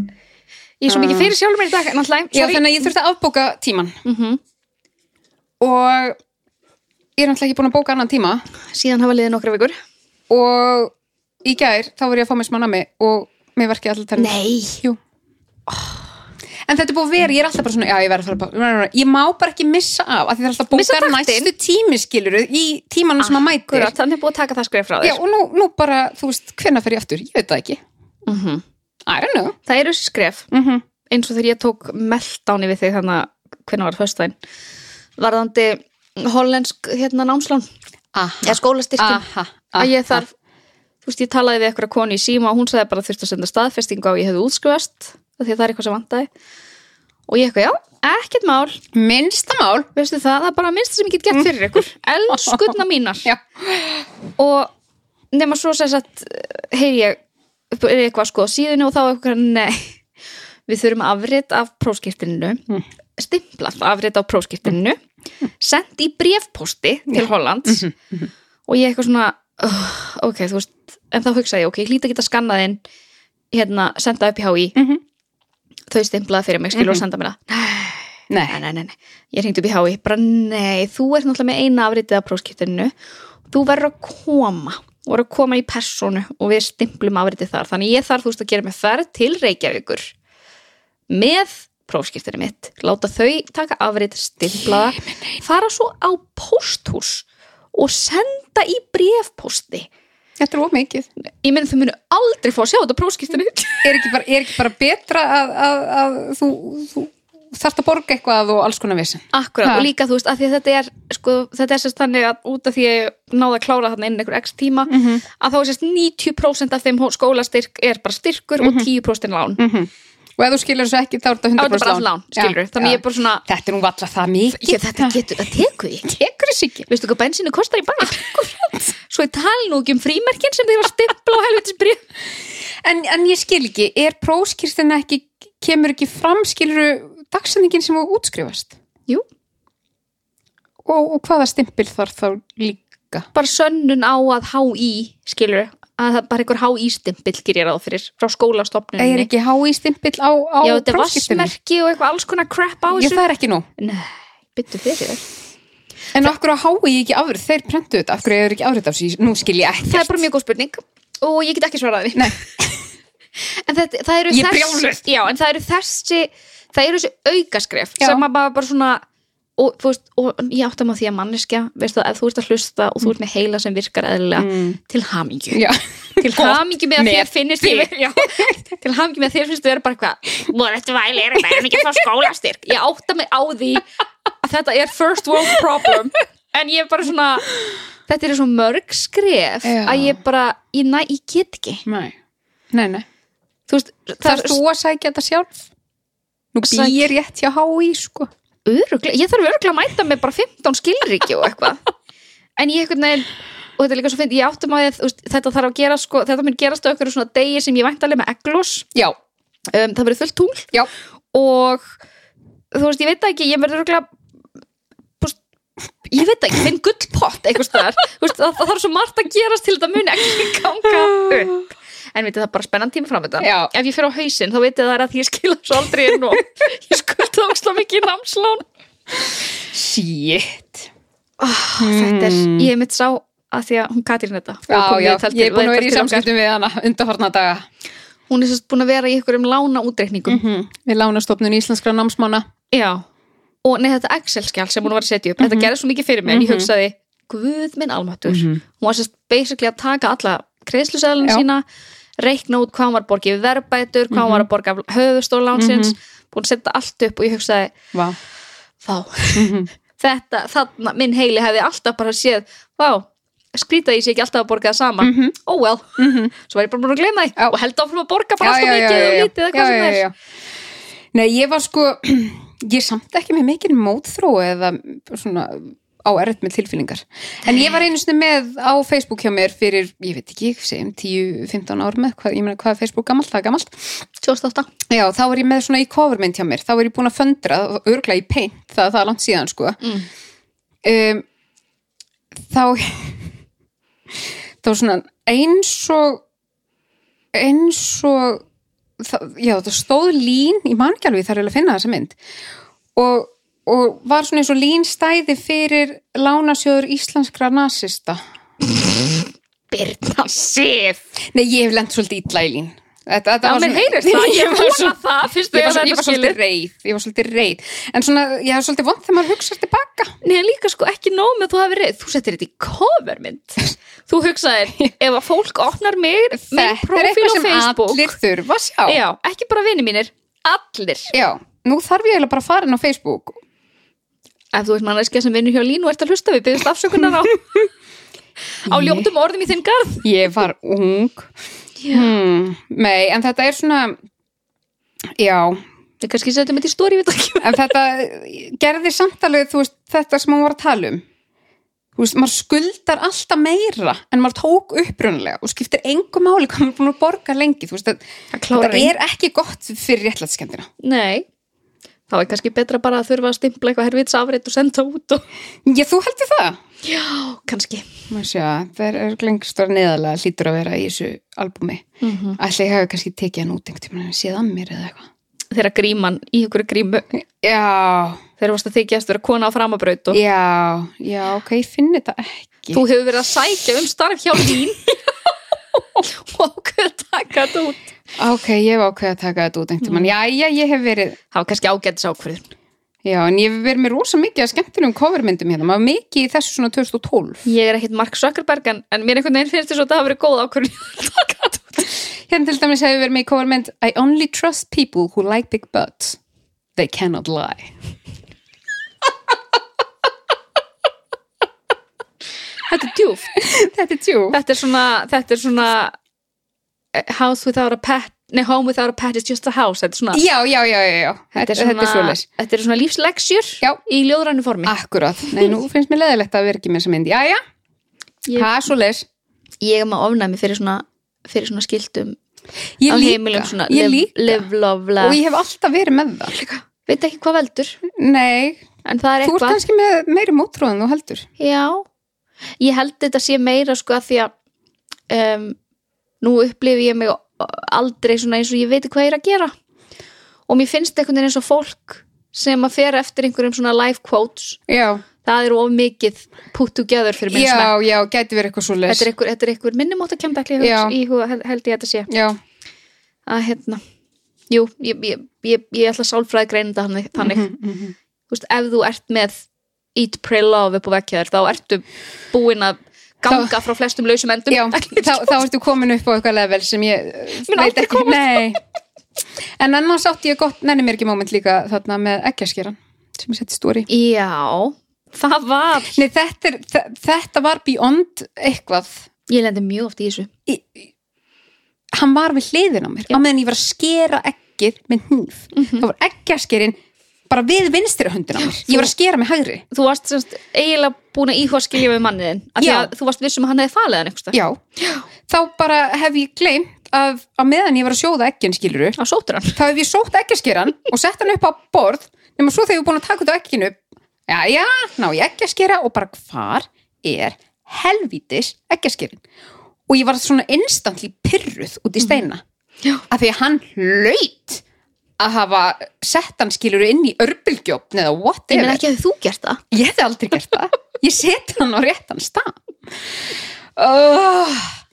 S1: ég er svo mikið fyrir sjálfur mér í dag en alltaf,
S3: Já, þannig að ég þurfti að afbóka tíman
S1: Mhm.
S3: og ég er náttúrulega ekki búin að bóka annan tíma
S1: síðan hafa liðið nokkra vikur
S3: og í gær þá var ég að fá mér smá nami og mér verkið allir tennum
S1: nei,
S3: Jú En þetta er búið að vera, ég er alltaf bara svona, já ég verð að fara bara, ég má bara ekki missa af, af því það er alltaf
S1: Missa
S3: búið að
S1: taktinn?
S3: næstu tími skiluru í tímanum sem að mætir.
S1: akkurat, þannig er búið að taka það skrif frá
S3: Já
S1: þér
S3: og nú, nú bara, þú veist, hvenær fer ég aftur? Ég veit það ekki.
S1: mm -hmm.
S3: I don't know.
S1: það eru skref
S3: Mm -hmm.
S1: eins og þegar ég tók meldáni við þig þannig að hvernig var föstæðin varðandi hollensk hérna námslán
S3: Aha,
S1: eða skólastyrkin
S3: aha,
S1: að ég
S3: aha.
S1: þarf þú veist ég talaði við eitthvað konu í síma og hún sagði bara þurfti að senda staðfestingu á að ég hefði útskrifast af því að það er eitthvað sem vantaði og ég eitthvað já, ekkert mál
S3: Minnsta mál.
S1: veistu það, það er bara minnst sem ég get gert fyrir ykkur elskunna mínar
S3: Já.
S1: og nema svo sem sagt heyr ég upp- er eitthvað sko á síðunni og þá eitthvað nei við þurfum afrit af prófskiptininu mm. stimplað afrit af prófskiptininu sendt í brefposti til Hollands og ég eitthvað svona uh, ok, þú veist, en þá hugsaði ég ok, ég hlýta að geta skannað inn hérna, senda upp hjá í
S3: Mhm.
S1: þau stimplaði fyrir mig, skilur og senda mér það
S3: Nei.
S1: nei, nei, nei, nei. ég hringdi upp í hái bara nei, þú ert náttúrulega með eina afritið af prófskiptinu þú verður að koma þú verður að koma í personu og við stimplum afritið þar þannig ég þarf þú veist að gera mig ferð til Reykjavíkur með prófskiptinu mitt láta þau taka afrit stimplaða, fara svo á pósthús og senda í brefpósti
S3: Þetta er ómikið.
S1: ég meina þau munu aldrei fá að sjá þetta prófskiptinu
S3: Er ekki bara, er ekki bara betra að, að, að þú, þú þarft að borga eitthvað og alls konar vissin?
S1: Akkurat,
S3: Ha.
S1: og líka þú veist, af því að þetta er sko, þetta er sérst þannig að út af því að ég náði að klára þarna inn einhver x tíma
S3: Mhm.
S1: að þá er sérst 90% af þeim hó- skólastyrk er bara styrkur
S3: Mhm.
S1: og 10% lán mm -hmm.
S3: Og ef þú skilur þessu ekki þá er þetta
S1: Það
S3: 100%
S1: er bara allt lán, skilur
S3: Já,
S1: Þannig
S3: já.
S1: ég er bara svona,
S3: Þetta er nú valla það mikið.
S1: ég, þetta getur, það tekur því
S3: tekur þessu ekki.
S1: Veistu hvað bensinu kostar í bæ? Akkurat Svo ég tala nú ekki um frímerkin sem þeir var stimpla og helvitis bríð
S3: En, en ég skil ekki, er próskýrstina ekki, kemur ekki fram, skiluru dagsendingin sem þú útskrifast?
S1: Jú,
S3: Og, og hvaða stimpil þarf þá líka?
S1: bara sönnun á að HÍ, skilur að það bara einhver HÍ stimpill gerir ráð fyrir frá skólastofnunni
S3: Er ekki hái stimpil á, á
S1: Já, þetta er
S3: prófskírteini?
S1: vassmerki og eitthvað alls konar crap á
S3: Ég
S1: þessu.
S3: það er ekki nú.
S1: Nei, byttu fyrir þér.
S3: En okkur að hái ekki afrið, þeir prentu þetta, okkur er ekki afrið af þessu, nú skil ég
S1: Það
S3: ekki.
S1: er bara mjög góð spurning og ég get ekki svarað því.
S3: Nei.
S1: En það, það eru
S3: Ég er
S1: þess-
S3: brjáluð.
S1: Já, en það eru þessi, það eru þessi aukaskref
S3: Já.
S1: sem að bara, bara svona, og, þú veist, og ég áttum á því að manneskja veistu, ef þú ert að hlusta og þú ert með heila sem virkar eðlilega
S3: Mm.
S1: til hamingju
S3: Já.
S1: til hamingju með að
S3: Með
S1: þér finnist þér, já, til hamingju með að þér finnst þér bara eitthvað voru þetta væli, er þetta ekki að fá skólastyrk ég áttum mig á því að þetta er first world problem en ég er bara svona þetta er svo mörg skref
S3: Já.
S1: að ég bara, ég, næ, ég get ekki
S3: Nei, nei, nei.
S1: þú veist,
S3: Það er þú að sækja þetta sjálf Nú
S1: Sæk-
S3: býr ég rétt hjá HÍ sko
S1: öruglega, ég þarf öruglega að mæta með bara 15 skilríki og eitthvað en ég eitthvað neginn og þetta er líka svo fyndi, ég áttum á því að þú veist, þetta þarf að gera sko, þetta mun gerast á einhverju svona degi sem ég vænt alveg með eglós
S3: Já,
S1: um, það verður fullt tungl
S3: já,
S1: og þú veist, ég veit það ekki, ég verður öruglega búst, ég veit það ekki, finn gullpott eitthvað staðar, Þú veist, það, það þarf svo margt að gerast til þetta mun ekki ganga upp en veitir það er bara spennan tíma framöndan
S3: Já.
S1: ef ég fer á hausinn þá veitir það er að ég skila svo aldrei inn og ég skulda ósla mikið námslán
S3: shit
S1: þetta er, ég mitt sá að því að hún Katrín þetta
S3: Já,
S1: og kom
S3: já,
S1: í viðtal til-
S3: ég er búin
S1: viðtal
S3: að vera í
S1: til okkar.
S3: samskiptum við hana undarfarna daga
S1: hún er sérst búin að vera í ykkur um lána útreikningum
S3: Mhm. Við lánastofnun íslenskra námsmána
S1: já, og nei þetta Excel-skjál sem hún var að setja upp,
S3: Mhm.
S1: þetta gerði svo mikið fyrir mig en ég hugsaði, guð minn almáttur hún var sérst basically að taka alla greiðsluseðlun
S3: Já.
S1: sína reikna út hvað hún var að borga í verbætur hvað hún
S3: Mhm.
S1: var að borga af höfustólánsins búin að setja allt upp og ég hugsaði
S3: Vá
S1: þá
S3: Mhm.
S1: þetta, þarna, minn heili hefði alltaf bara séð, vá skrýta ég sé ekki alltaf að borga það sama oh well, svo var ég bara búin að gleyma því
S3: Mhm. Já.
S1: og held áfram að borga bara
S3: Já,
S1: alltaf
S3: já, já,
S1: mikið og
S3: já,
S1: lítið eða
S3: já,
S1: hvað sem
S3: já,
S1: það
S3: já.
S1: er
S3: Nei, ég var sko ég er samt ekki með mikinn mótþró eða svona á erð með tilfýlingar. En ég var einu sinni með á Facebook hjá mér fyrir, ég veit ekki, segjum 10-15 ár með, hvað, ég meina hvað er Facebook gamalt, það er gamalt.
S1: 2008
S3: Já, þá var ég með svona í covermynd hjá mér þá var ég búin að föndra, örgla í paint það, það er langt síðan sko
S1: Mm.
S3: um, þá þá var svona eins og eins og það, já, það stóð lín í mannkjálfi þar er að finna þessa mynd og, og var svona eins og lín stæði fyrir lánasjóður íslenskra nasista
S1: Birna Sif
S3: Nei, ég hef lent svolítið illa í lín Þetta, þetta
S1: Já,
S3: var
S1: mér
S3: svona-
S1: heyrist það, ég
S3: var
S1: vona
S3: svo-
S1: það fyrst
S3: ég
S1: þegar
S3: var, svo, ég
S1: þetta
S3: var svolítið
S1: skilir
S3: reið ég var svolítið reið en svona, ég hef svolítið vond þegar maður hugsar tilbaka
S1: Nei, en líka sko ekki nóg með að þú hefur reið þú settir þetta í covermynd þú hugsaðir, ef að fólk opnar mig minn
S3: þetta er
S1: profil
S3: eitthvað
S1: á
S3: sem
S1: Facebook
S3: allir þurfa að sjá
S1: já, ekki bara vini mínir, allir
S3: Já, nú þarf ég eiginlega bara að fara inn á Facebook
S1: ef þú ert manneskja sem vinnur hjá Lín og ert að hlusta við byggjast afsökunar á á ljótum orðum í þinn garð
S3: ég var ung
S1: Já.
S3: hmm, nei, en þetta er svona já,
S1: við kannski setjum þetta í stóri við ekki
S3: en þetta gerði samtalið, þú veist, þetta sem hún var að tala um þú veist, maður skuldar alltaf meira en maður tók upprunlega og skiptir engum máli hvað maður er búin að borga lengi, þú veist, að-
S1: það
S3: þetta er ekki gott fyrir réttlætskendina
S1: nei þá er kannski betra bara að þurfa að stimpla eitthvað herfiðs afrétt og senda út og
S3: Já, þú heldur það?
S1: já, kannski
S3: Má sjá, það er lengstur neðalega hlýtur að vera í þessu albúmi. Mm
S1: Mhm.
S3: -hmm. Ætli ég hafi kannski tekið hann út einhvern tímann en séð að mér eða eitthvað.
S1: þegar gríman í ykkur grímu
S3: Já,
S1: þegar varst að þykjast vera kona á framabraut og
S3: já, já, ok, ég finn þetta ekki.
S1: þú hefur verið að sækja um starf hjá Lín og ákveður að taka þetta út
S3: Ah, Ok, ég hef ákveðið að taka þetta út einhvern
S1: Mm.
S3: tímann. Já, já, ég hef verið,
S1: það var kannski ágætis ákveður
S3: já, en ég hef verið með rosa mikið að skemmtunum covermyndum hérna. Maður var mikið í þessu svona 2012.
S1: ég er ekkit Mark Zuckerberg en, en mér einhvern veginn finnst þess að það hafa verið góð ákveður að taka þetta út
S3: Hérna til dæmis hefur verið með í covermynd I only trust people who like big butts. They cannot lie.
S1: þetta er djúft
S3: þetta er tjú.
S1: þetta er svona, þetta er svona eh, house without a pet nei, home without a pet is just a house þetta er svona,
S3: Já, já, já, já, já. Þetta,
S1: þetta er Ah. svona,
S3: svoleiðis.
S1: þetta er svona lífsleksjur
S3: Já.
S1: í ljóðrænu formi
S3: Akkurat, nei nú finnst mér leðilegt að vera ekki með þessa mynd Jæja,
S1: Ég-
S3: það er svo leis
S1: ég er maður ofnæmi fyrir svona fyrir svona skildum
S3: Ég
S1: á
S3: líka,
S1: heimilum svona
S3: ég
S1: live,
S3: líka
S1: live, love,
S3: Og
S1: laugh
S3: ég hef alltaf verið með það
S1: veit ekki hvað veldur,
S3: Nei,
S1: en það er
S3: þú ert
S1: eitthvað
S3: kannski með meiri mótrúð en þú heldur
S1: já, ég held þetta sé meira sko að því að um, nú upplifi ég mig aldrei svona eins og ég veit hvað ég er að gera og mér finnst einhvern veginn eins og fólk sem að fer eftir einhverjum svona life quotes
S3: Já,
S1: það er of mikið put together fyrir minn smekk
S3: já, já, gæti verið eitthvað svo leis
S1: þetta er einhver, þetta er einhver minnumáttakjöndakli
S3: Já.
S1: í huga held, held ég að þetta sé
S3: Já, Mhm,
S1: að hérna, jú, ég, ég, ég, ég ætla að sálfræði greina þetta þannig, þannig. þú veist, ef þú ert með eat, pray, love upp á vekkjaður þá ertu búin að ganga frá flestum lausum endum
S3: Já, þá, þá ertu komin upp á eitthvað level sem ég
S1: Mun
S3: Minn veit
S1: aldrei
S3: ekki, nei En annars átti ég gott, nenni mér ekki moment líka þarna með ekkjaskeran sem ég setti stóri
S1: Já, það var
S3: Nei, þetta, er, þe- þetta var beyond eitthvað
S1: Ég lendi mjög oft í þessu
S3: Í- í- Hann var við hliðin á mér á meðan ég var að skera ekkið með hníf þá var ekkjaskerin bara við vinstri höndin á mér ég var að skera með hægri
S1: Þú varst semst eiginlega búin að íhuga að skilja við manniðin af því
S3: Já.
S1: að þú varst vissum að hann hefði falið hann einhverstað
S3: Já, þá bara hef ég gleymt að á meðan ég var að sjóða ekkin skiluru
S1: á sótur hann
S3: þá hef ég sótt ekkjaskeran og sett hann upp á borð nema svo þegar ég er búin að taka út á ekkinu já, já, ná ég ekkjaskera og bara hvar er helvítis ekkjaskerin og ég var svona instantly pyrruð út í steina
S1: Mhm. Já.
S3: af því að hann hlaut að hafa sett hann skiluru inn í örbylgjófn eða
S1: Ég
S3: whatever
S1: meina ekki að þú gert það
S3: ég hefði aldrei gert það ég seti hann á réttan stað
S1: Ah,
S3: oh,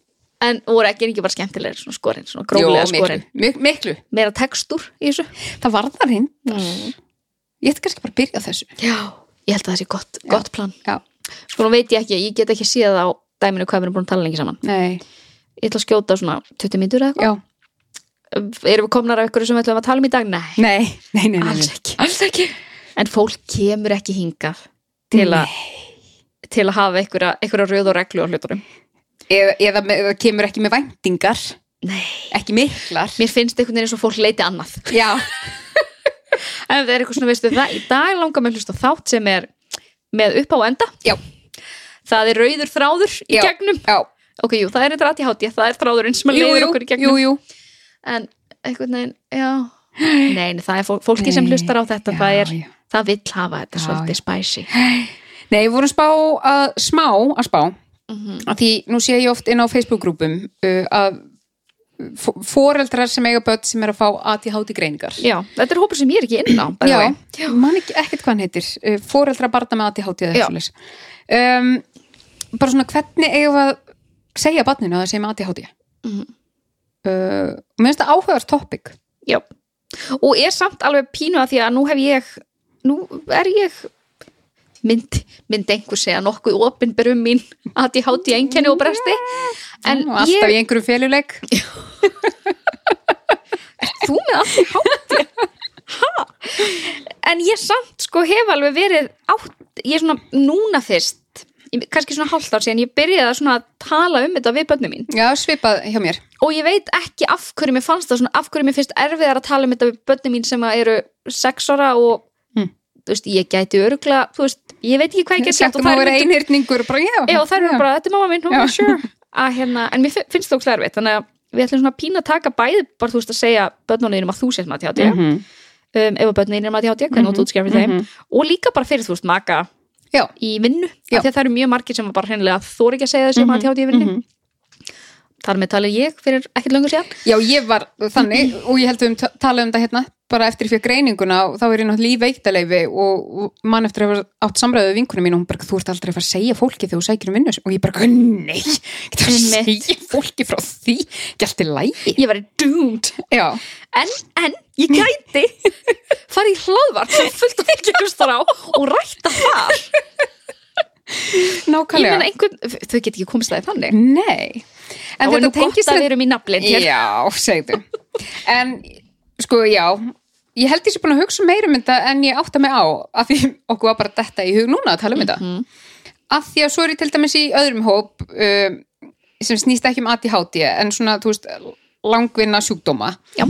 S1: En voru ekki ekki bara skemmtilegir svona skorinn, svona gróflega
S3: miklu,
S1: skorinn
S3: mik- miklu
S1: Meira textúr í þessu
S3: það var það reyndar
S1: Mm.
S3: ég ætti kannski bara að byrja á þessu
S1: Já, ég held að það sé gott, gott plan
S3: já,
S1: Sko nú veit ég ekki, ég get ekki séð á dæminu hvað við erum búin að tala lengi saman
S3: nei,
S1: Ég ætla að skjóta svona 20 mínútur eða
S3: já
S1: eitthvað Erum við komnar af ykkur sem við ætlum að tala um í dag? Nei,
S3: nei, nei, nei, nei,
S1: alls
S3: nei.
S1: ekki
S3: alls ekki
S1: En fólk kemur ekki hingað til, a, til að hafa einhverja, einhverja röð og reglu á hlutunum
S3: eða, eða, með- eða kemur ekki með væntingar
S1: Nei
S3: ekki miklar
S1: Mér finnst einhvern veginn eins og fólk leiti annað
S3: já,
S1: En það er eitthvað svona, veistu, það í dag langar mér að hlusta á þátt sem er með upp á enda
S3: já,
S1: Það er rauður þráður í
S3: Já.
S1: gegnum
S3: já
S1: Ok, jú, það er eitthvað aðti hátíð, það er þráðurinn sem að
S3: jú,
S1: leiður
S3: jú,
S1: okkur í gegnum
S3: jú, jú.
S1: En einhvern veginn, já Nei, nei, það er fólk, fólki sem
S3: Nei.
S1: hlustar á þetta
S3: Já,
S1: það, er,
S3: já.
S1: það vill hafa þetta
S3: Já,
S1: svolítið spæsi
S3: nei, við vorum spá að, smá að spá
S1: Mhm.
S3: að því nú sé ég oft inn á Facebook-grúpum uh, að fó- foreldrar sem eiga börn sem er að fá ADHD greiningar
S1: Já, þetta er hópur sem ég er ekki inn á by the way.
S3: já, man ekki ekkert hvað hann heitir uh, foreldrar barna með ADHD eða
S1: Já.
S3: eitthvað svoleiðis. um, bara svona hvernig eigum við að segja barninu að það segja með ADHD
S1: Mhm.
S3: uh, mér finnst það áhugaður topic
S1: Já, og er samt alveg pínu að því að nú hef ég, nú er ég mynd, mynd einhver segja nokkuð opinber um mín að ég háti einkenni og bresti en
S3: og alltaf
S1: ég,
S3: í einhverjum féluleik
S1: þú með að ég háti en ég samt sko hef alveg verið átt, ég er svona núna fyrst ég- kannski svona hálft ár síðan ég byrjaði að svona tala um þetta við börnum mín
S3: já, svipað hjá mér
S1: og ég veit ekki af hverju mér fannst það svona, af hverju mér finnst erfiðar að tala um þetta við börnum mín sem að eru sex ára og
S3: Mm.
S1: þú veist, ég gæti örugla þú veist, ég veit ekki hvað ég gæti
S3: sagt um að vera einhyrningur og bara já,
S1: já, og það eru bara, þetta er mamma mín, hún
S3: Já.
S1: er sure að hérna, en mér fi- finnst það ókslega erfitt þannig að við ætlum svona að pína að taka bæði bara þú veist að segja börnunum að þú sést maður tjátti mm
S3: Mhm.
S1: um, ef að börnunum er maður tjátti, hvernig mm -hmm. þú útskjafir þeim og líka bara fyrir þú veist maka
S3: já,
S1: í vinnu,
S3: Já. Mhm,
S1: af því að það eru mjög margir sem bara hreinlega þóri ekki að segja þessi mm -hmm. maður í vinnu mm -hmm. þar með talið ég fyrir ekkert löngu síðan
S3: Já, ég var þannig og ég held við um ta- talað um þetta hérna bara eftir ég fyrir greininguna og þá er ég náttúrulega í veiktaleifi og og man eftir að hafa átt samræðu við vinkunum mín og hún bara, þú ert aldrei að fara að segja fólki þegar þú sækir um vinnus og ég bara, nei, ég getur að
S1: Einmitt.
S3: segja fólki frá því, ekki allt í lægi
S1: ég væri doomed
S3: Já,
S1: en, en ég gæti farið í hlaðvart sem fullt af fólki hlustar á og rætta þar ég
S3: nákvæmlega
S1: meina einhvern, þau get ekki komist það í þannig
S3: Nei, en
S1: og er nú gott
S3: þetta tengist
S1: að við erum í naflinn hér
S3: Já, segðu En sko, já Ég held ég sé búin að hugsa meira um þetta en ég átta mig á af því okkur var bara detta í hug núna að tala um þetta Af því að svo er ég til dæmis í öðrum hóp um, sem snýst ekki um ADHD en svona, þú veist, langvinna sjúkdóma
S1: Já.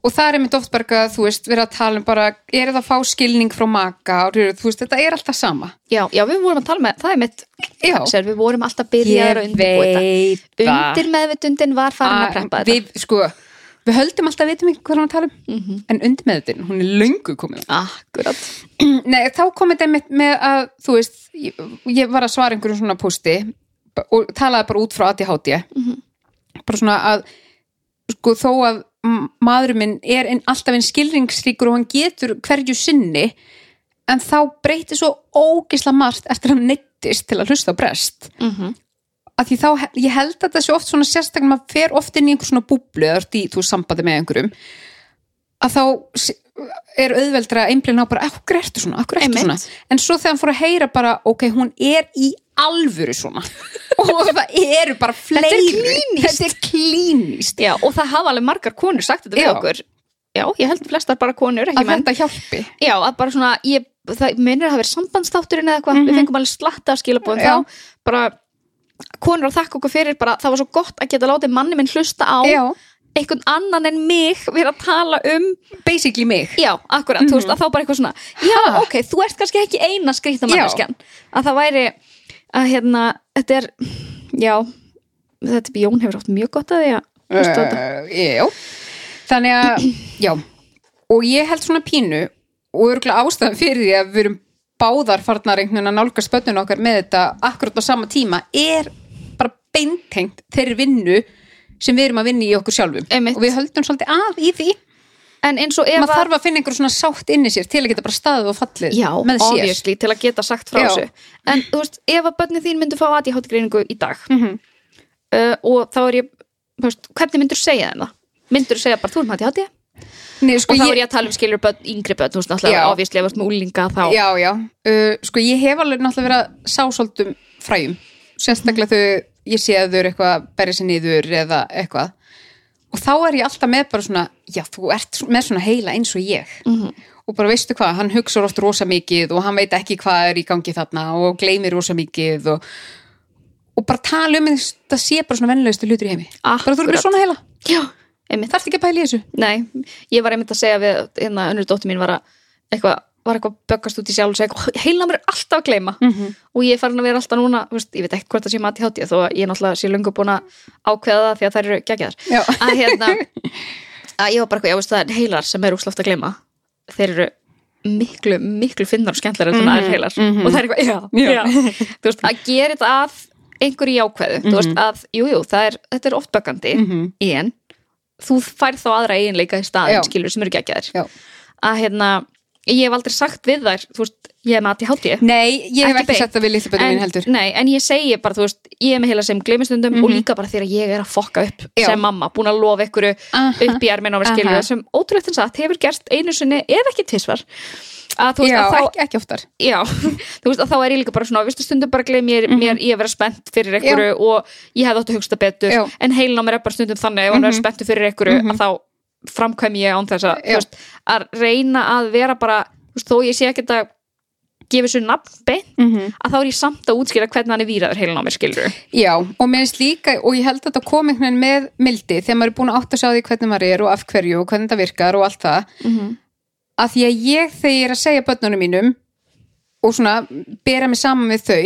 S3: Og það er mitt oft bara eitthvað, þú veist, verið að tala um bara er það að fá skilning frá maka og þú veist, þetta er alltaf sama
S1: já, já, við vorum að tala með, það er mitt
S3: Já,
S1: sér, við vorum alltaf byrjaðar að undirbúa þetta
S3: það.
S1: undir meðvitundin var farin að
S3: að
S1: preppa þetta
S3: við, sko, við höldum alltaf að vitum ekki hvað hann tala um en undmeðutin, hún er löngu komin
S1: akkurat
S3: Mm, Nei, þá kom þetta með, með að þú veist, ég, ég var að svara einhverjum svona posti b- og talaði bara út frá ADHD Mhm. bara svona að sko þó að m- maðurinn minn er ein, alltaf einn skilringsríkur og hann getur hverju sinni en þá breyti svo ógisla margt eftir að hann neittist til að hlusta á brest
S1: mm -hmm.
S3: að því þá, ég held að það sé oft svona sérstaklega, maður fer oft inn í einhver svona búblu eða ert í, þú veist, sambandi með einhverjum að þá s- er auðveldra að einblina á bara, okkur ertu svona, okkur ertu svona
S1: Einmitt.
S3: en svo þegar hann fór að heyra bara, ok, hún er í alvöru svona og það eru bara fleiri
S1: klínískt.
S3: þetta er klínist
S1: Já, og það hafa alveg margar konur sagt þetta við
S3: Já.
S1: okkur. Já, ég held flestar bara konur, ekki
S3: að
S1: menn.
S3: þetta hjálpi
S1: Já, að bara svona, ég, það minnir að hafa verið sambandsþátturinn eða eitthvað, við fengum alveg slatta að skilabóðum
S3: Mhm.
S1: þá,
S3: Já.
S1: bara konur að þakka okkur fyrir, bara það var svo gott að geta látið manni minn hlusta á
S3: já,
S1: einhvern annan en mig vera að tala um,
S3: basically mig
S1: já, akkurat, þú veist, að þá bara eitthvað svona, já,
S3: Mhm. Ha?
S1: ok, þú ert kannski ekki eina skrýtna
S3: Já.
S1: manneskjan, að það væri að hérna, þetta er, já, þetta er Jón hefur átt mjög gott að því að hlusta á þetta.
S3: uh, já þannig að, já og ég held svona pínu og örgulega ástæðan fyrir því að við erum báðar farnar einhvern veginn að nálga spönnun okkar með þetta akkurat á sama tíma er bara beintengt þeirri vinnu sem við erum að vinna í okkur sjálfum
S1: Einmitt.
S3: og við höldum svolítið að í því
S1: En eins og ef
S3: maður
S1: að
S3: þarf að finna einhver svona sátt inni í sér til að geta bara staðið og fallið
S1: Já,
S3: með sér
S1: obviously, til að geta sagt frá
S3: Já.
S1: þessu En þú veist, ef að börni þín myndu fá ADHD greiningu í dag
S3: Mhm.
S1: uh, og þá er ég þú veist, hvernig myndur segja þeim það? Myndur segja bara, þú erum ADHD
S3: Nei, sko,
S1: og þá
S3: ég-
S1: er ég að tala um skilur börn, yngri börn þú veist, náttúrulega,
S3: Já.
S1: obviously, ef þú ert með úlinga þá
S3: Já, já, uh, sko ég hef alveg náttúrulega verið að sá svolítum fræjum sérstaklega
S1: Mhm.
S3: þau ég sé að þau eru eitthvað að berja sér niður eða eitthvað og þá er ég alltaf með bara svona já, þú ert svo- með svona heila eins og ég
S1: Mhm.
S3: -hmm. og bara veistu hvað, hann hugsar oft rosa mikið og hann veit ekki hvað er í gangi þarna og gleymir rosa mikið og, og bara tala um eins- þetta sé bara svona vennilegustu hlutur í heimi bara þú eru
S1: Akkurat.
S3: með svona heila,
S1: Já, einmitt
S3: þarft ekki að pæla í þessu
S1: Nei, ég var einmitt að segja við hérna, önnur dóttir mín var að eitthvað var eitthvað að böggast út í sjálf og segja heila mér er alltaf að gleyma
S3: Mhm.
S1: og ég er farin að vera alltaf núna, þú veist, ég veit ekki hvort það sé mati hátja þó að ég er náttúrulega sé löngu búin að ákveða það því að þær eru geggjaðar
S3: Já.
S1: að hérna að ég var bara eitthvað, já veist það er heilar sem er úsláft að gleyma þeir eru miklu, miklu finnar og skemmtlar en þannig að er heilar
S3: mhm.
S1: og það er eitthvað, já,
S3: Já.
S1: já. þú veist, að gera þetta að einhverju jákveðu, þú
S3: Mhm.
S1: veist að jú, jú, það er, þetta er oft böggandi
S3: -hmm.
S1: en þú færð þá aðra eiginleika í staðin
S3: Já.
S1: skilur sem eru geggjaðir
S3: Já.
S1: að hérna, ég hef aldrei sagt við þær þú veist, ég hef með aðti hátti
S3: Nei,
S1: Ekki
S3: ég hef ekki,
S1: beint.
S3: sett það við litluböndum mín heldur Mhm.
S1: nei, en ég segi bara, þú veist, ég hef með heila sem gleymistundum og líka bara þegar ég er að fokka upp
S3: Já.
S1: sem mamma, búin að lofa ykkur
S3: Aha.
S1: upp í erminn á mér skilur
S3: Aha.
S1: sem ótrúlegt en satt hefur gerst einu sinni eða ekki tvisvar að þú veist
S3: Já,
S1: að þá
S3: ekki, ekki oftar
S1: já, þú veist að þá er ég líka bara svona viðstu stundum bara gleym ég, mér ég að vera spennt fyrir einhverju og ég hefði átt að hugsa það betur
S3: Já.
S1: en heilin á mér er bara stundum þannig ef hann er spenntu fyrir einhverju að þá framkvæm ég án þess að, þú
S3: Já.
S1: veist, að reyna að vera bara, þú veist, þó ég sé ekkert að gefa þessu nafn beint
S3: mm -hmm.
S1: að þá er ég samt að útskýra hvernig hann er víraður heilin á mér skilur
S3: Já, og mér finnst líka, og ég held að þetta kom einhvern veginn með mildi, þegar maður er búin að átta sig á því hvernig maður er og af hverju og hvernig það virkar og allt það,
S1: Mhm.
S3: að því að ég þegar ég er að segja börnunum mínum og svona bera mig saman við þau,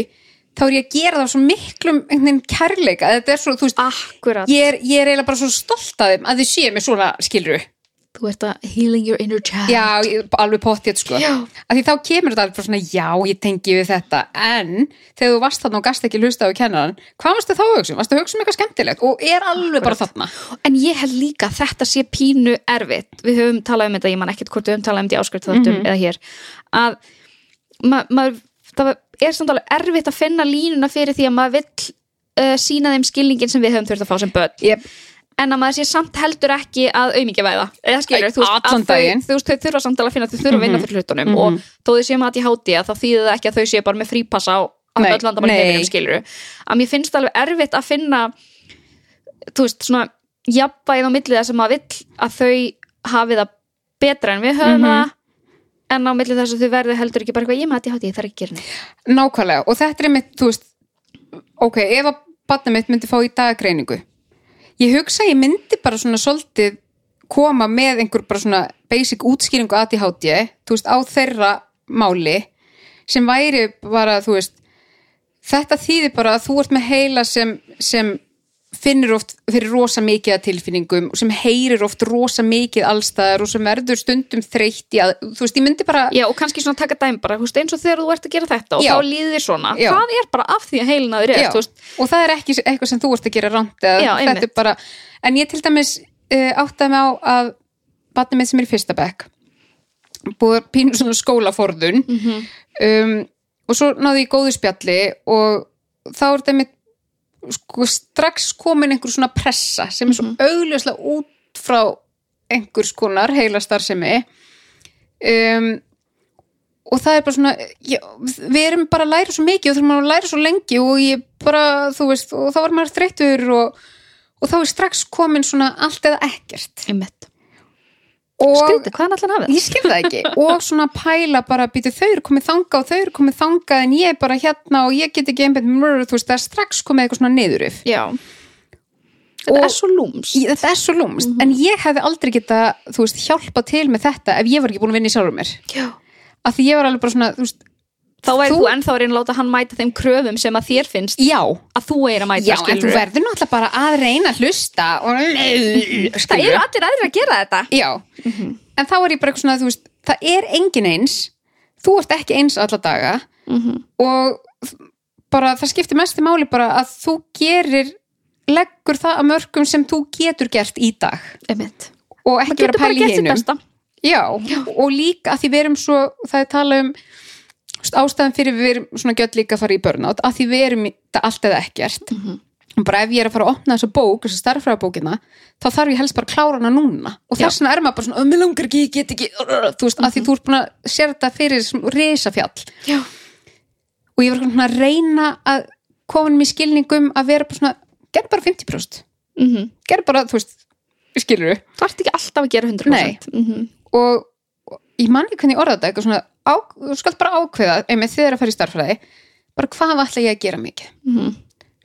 S3: þá er ég að gera það svo miklum einhvern veginn kærleika, þetta er svo, þú veist,
S1: Akkurat,
S3: ég er, ég er eiginlega bara svo stolt að þeim að þau séu mig svona skilru.
S1: þú ert að healing your inner child
S3: Já, ég- alveg pottið, sko.
S1: Já.
S3: Að því þá kemur þetta alveg bara svona, já, ég tengi við þetta, en þegar þú varst þarna og gast ekki hlusta á kennaran, hvað varstu þá að hugsa um? Varstu að hugsa um eitthvað skemmtilegt og er alveg bara þarna?
S1: En ég held líka að þetta sé pínu erfitt. Við höfum talað um þetta, ég man ekkert hvort við höfum talað um þetta í áskriftaðartum eða hér. Að ma maður, það er samt alveg erfitt að finna línuna fyrir því að maður vill uh, sína þeim skilningin sem við höfum þurft að fá sem börn.
S3: Yep.
S1: En að maður sé samt heldur ekki að aumingjavæða. Eða skilur,
S3: Æ,
S1: þú veist,
S3: allan
S1: að þau,
S3: daginn. Mhm.
S1: þú veist, þau þurfa samt alveg að finna, þau þurfa að vinna fyrir hlutunum og þó þau séum að ég háti að þá þýðir það ekki að þau séu bara með frípassa á
S3: Nei,
S1: öll landamæri
S3: nei.
S1: heiminum skilur. Að mér finnst alveg erfitt að finna þú veist, svona jafnvægð á milli þess að maður vill að þau hafi það betra en við höfum
S3: Mhm.
S1: það en á milli þess að þau verði heldur ekki bara eitthvað ég mati hátti, ég þarf ekki að gera neitt
S3: Nákvæmlega, og þetta er mitt, þú veist, ok, ef að batna mitt myndi fá í daggreiningu, ég hugsa að ég myndi bara svona svolítið koma með einhver bara svona basic útskýringu ADHD, þú veist, á þeirra máli, sem væri bara, þú veist, þetta þýðir bara að þú ert með heila sem, sem finnur oft fyrir rosa mikið að tilfinningum og sem heyrir oft rosa mikið allstaðar og sem verður stundum þreytt í að, þú veist, ég myndi bara
S1: Já, og kannski svona taka dæmi bara, þú veist, eins og þegar þú ert að gera þetta og
S3: Já.
S1: þá líðir svona,
S3: Já.
S1: það er bara af því að heilin að þér er,
S3: Já,
S1: þú veist,
S3: og það er ekki eitthvað sem þú ert að gera rámt eða
S1: Já,
S3: þetta
S1: einmitt.
S3: er bara, en ég til dæmis uh, áttaði mig á að batni minn sem er í fyrsta bekk búið að pínu svona skólaforðun
S1: Mhm.
S3: um, og svo náði ég góðu spjalli og þá er þetta mitt sko, strax komin einhver svona
S1: Mhm.
S3: pressa sem er svo augljóslega út frá einhvers konar heila starfsemi um, og það er bara svona já, við erum bara að læra svo mikið og þurfum að læra svo lengi og ég bara, þú veist, og þá var maður þreyttur og, og þá er strax komin svona allt eða ekkert
S1: Einmitt.
S3: og
S2: Skrítið, hvað er allan að við?
S3: ég skil það ekki og svona pæla bara býtu þau eru komið þanga og þau eru komið þanga en ég er bara hérna og ég get ekki einbætt mörg þú veist það er strax komið eitthvað svona niðurif
S1: Já,
S2: Þetta
S3: og-
S2: er svo lúms.
S3: Í- þetta er svo lúmst en ég hefði aldrei geta þú veist hjálpa til með þetta ef ég var ekki búin að vinna í sjálfur mér
S1: já
S3: af því ég var alveg bara svona þú veist
S1: Þá væri
S3: Þú-
S1: þú, ennþá að reyna að láta hann mæta þeim kröfum sem að þér finnst
S3: já
S1: að þú er að mæta
S3: já en
S1: skilurðu.
S3: þú verður náttúrulega bara að reyna að hlusta og
S1: Það
S3: skilur
S1: eru allir aðrir að gera þetta
S3: Já,
S1: Mhm.
S3: en þá er ég bara eitthvað svona, þú veist, það er engin eins, þú ert ekki eins alla daga
S1: Mhm.
S3: og bara það skiptir mestu máli bara að þú gerir, leggur það að mörgum sem þú getur gert í dag
S1: Einmitt.
S3: og
S1: Maður
S3: ekki vera að
S1: getur bara
S3: pæla í
S1: gert sitt
S3: hinum.
S1: besta
S3: Já, og líka að því við erum svo, það er talað um þú veist, ástæðan fyrir við erum svona gjött líka að fara í burnout, að því við erum í- þetta allt eða ekkert. Mm Bara ef ég er að fara að opna þessa bók, þessa starffræðabókina, þá þarf ég helst bara að klára hana núna. Og þess vegna er maður bara svona, "Ö, mig langar ekki, ég get ekki, rrr", þú veist, að því þú ert búin að sér þetta fyrir þessum risafjall.
S1: Já.
S3: Og ég var svona að reyna að koma mér skilningum að vera bara svona, gerð bara 50%,
S1: mm
S3: gerð bara, þú veist, skilur við
S1: Þú ert ekki alltaf að gera 100% mm -hmm.
S3: og og ég man ekki hvernig ég orða þetta eitthvað svona, á, þú skalt bara ákveða einmitt þegar þið eru að fara í starffræði bara hvað ætla ég að gera mikið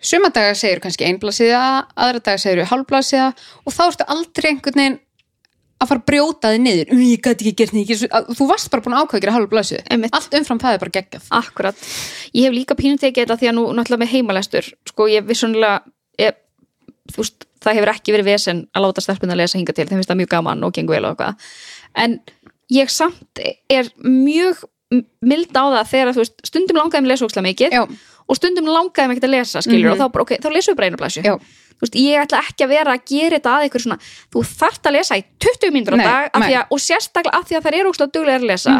S3: suma daga segir kannski einblasíða aðra daga segir hálfblasíða og þá ertu aldrei einhvern veginn að fara að brjóta þig niður "Mm, ég gæti ekki gert neitt, ég get svo-" þú varst bara búin að ákveða að gera hálfblasíðu
S1: Einmitt.
S3: allt umfram það er bara geggjað
S1: Akkurat. Ég hef líka pínu tekið þetta því að nú náttúrulega með heimalestur, sko, ég vissunlega, ég, þú veist, það hefur ekki verið vesen að láta stelpunna að lesa hinga til, þeim finnst það mjög gaman og gengur vel og eitthvað. En ég samt er mjög mild á það þegar, þú veist, stundum langaði mig að lesa ókslega mikið
S3: Já. Mhm.
S1: og stundum langaði mig ekkert að lesa, skilur, og þá bara, ok, þá lesum við bara einu blæsju.
S3: Já.
S1: Þú veist, ég ætla ekki að vera að gera þetta að ykkur svona, þú þarft að lesa í 20 mínútur á
S3: Nei,
S1: dag, af
S3: nei. Mhm.
S1: því að, og sérstaklega af því að það er ókslega duglega að lesa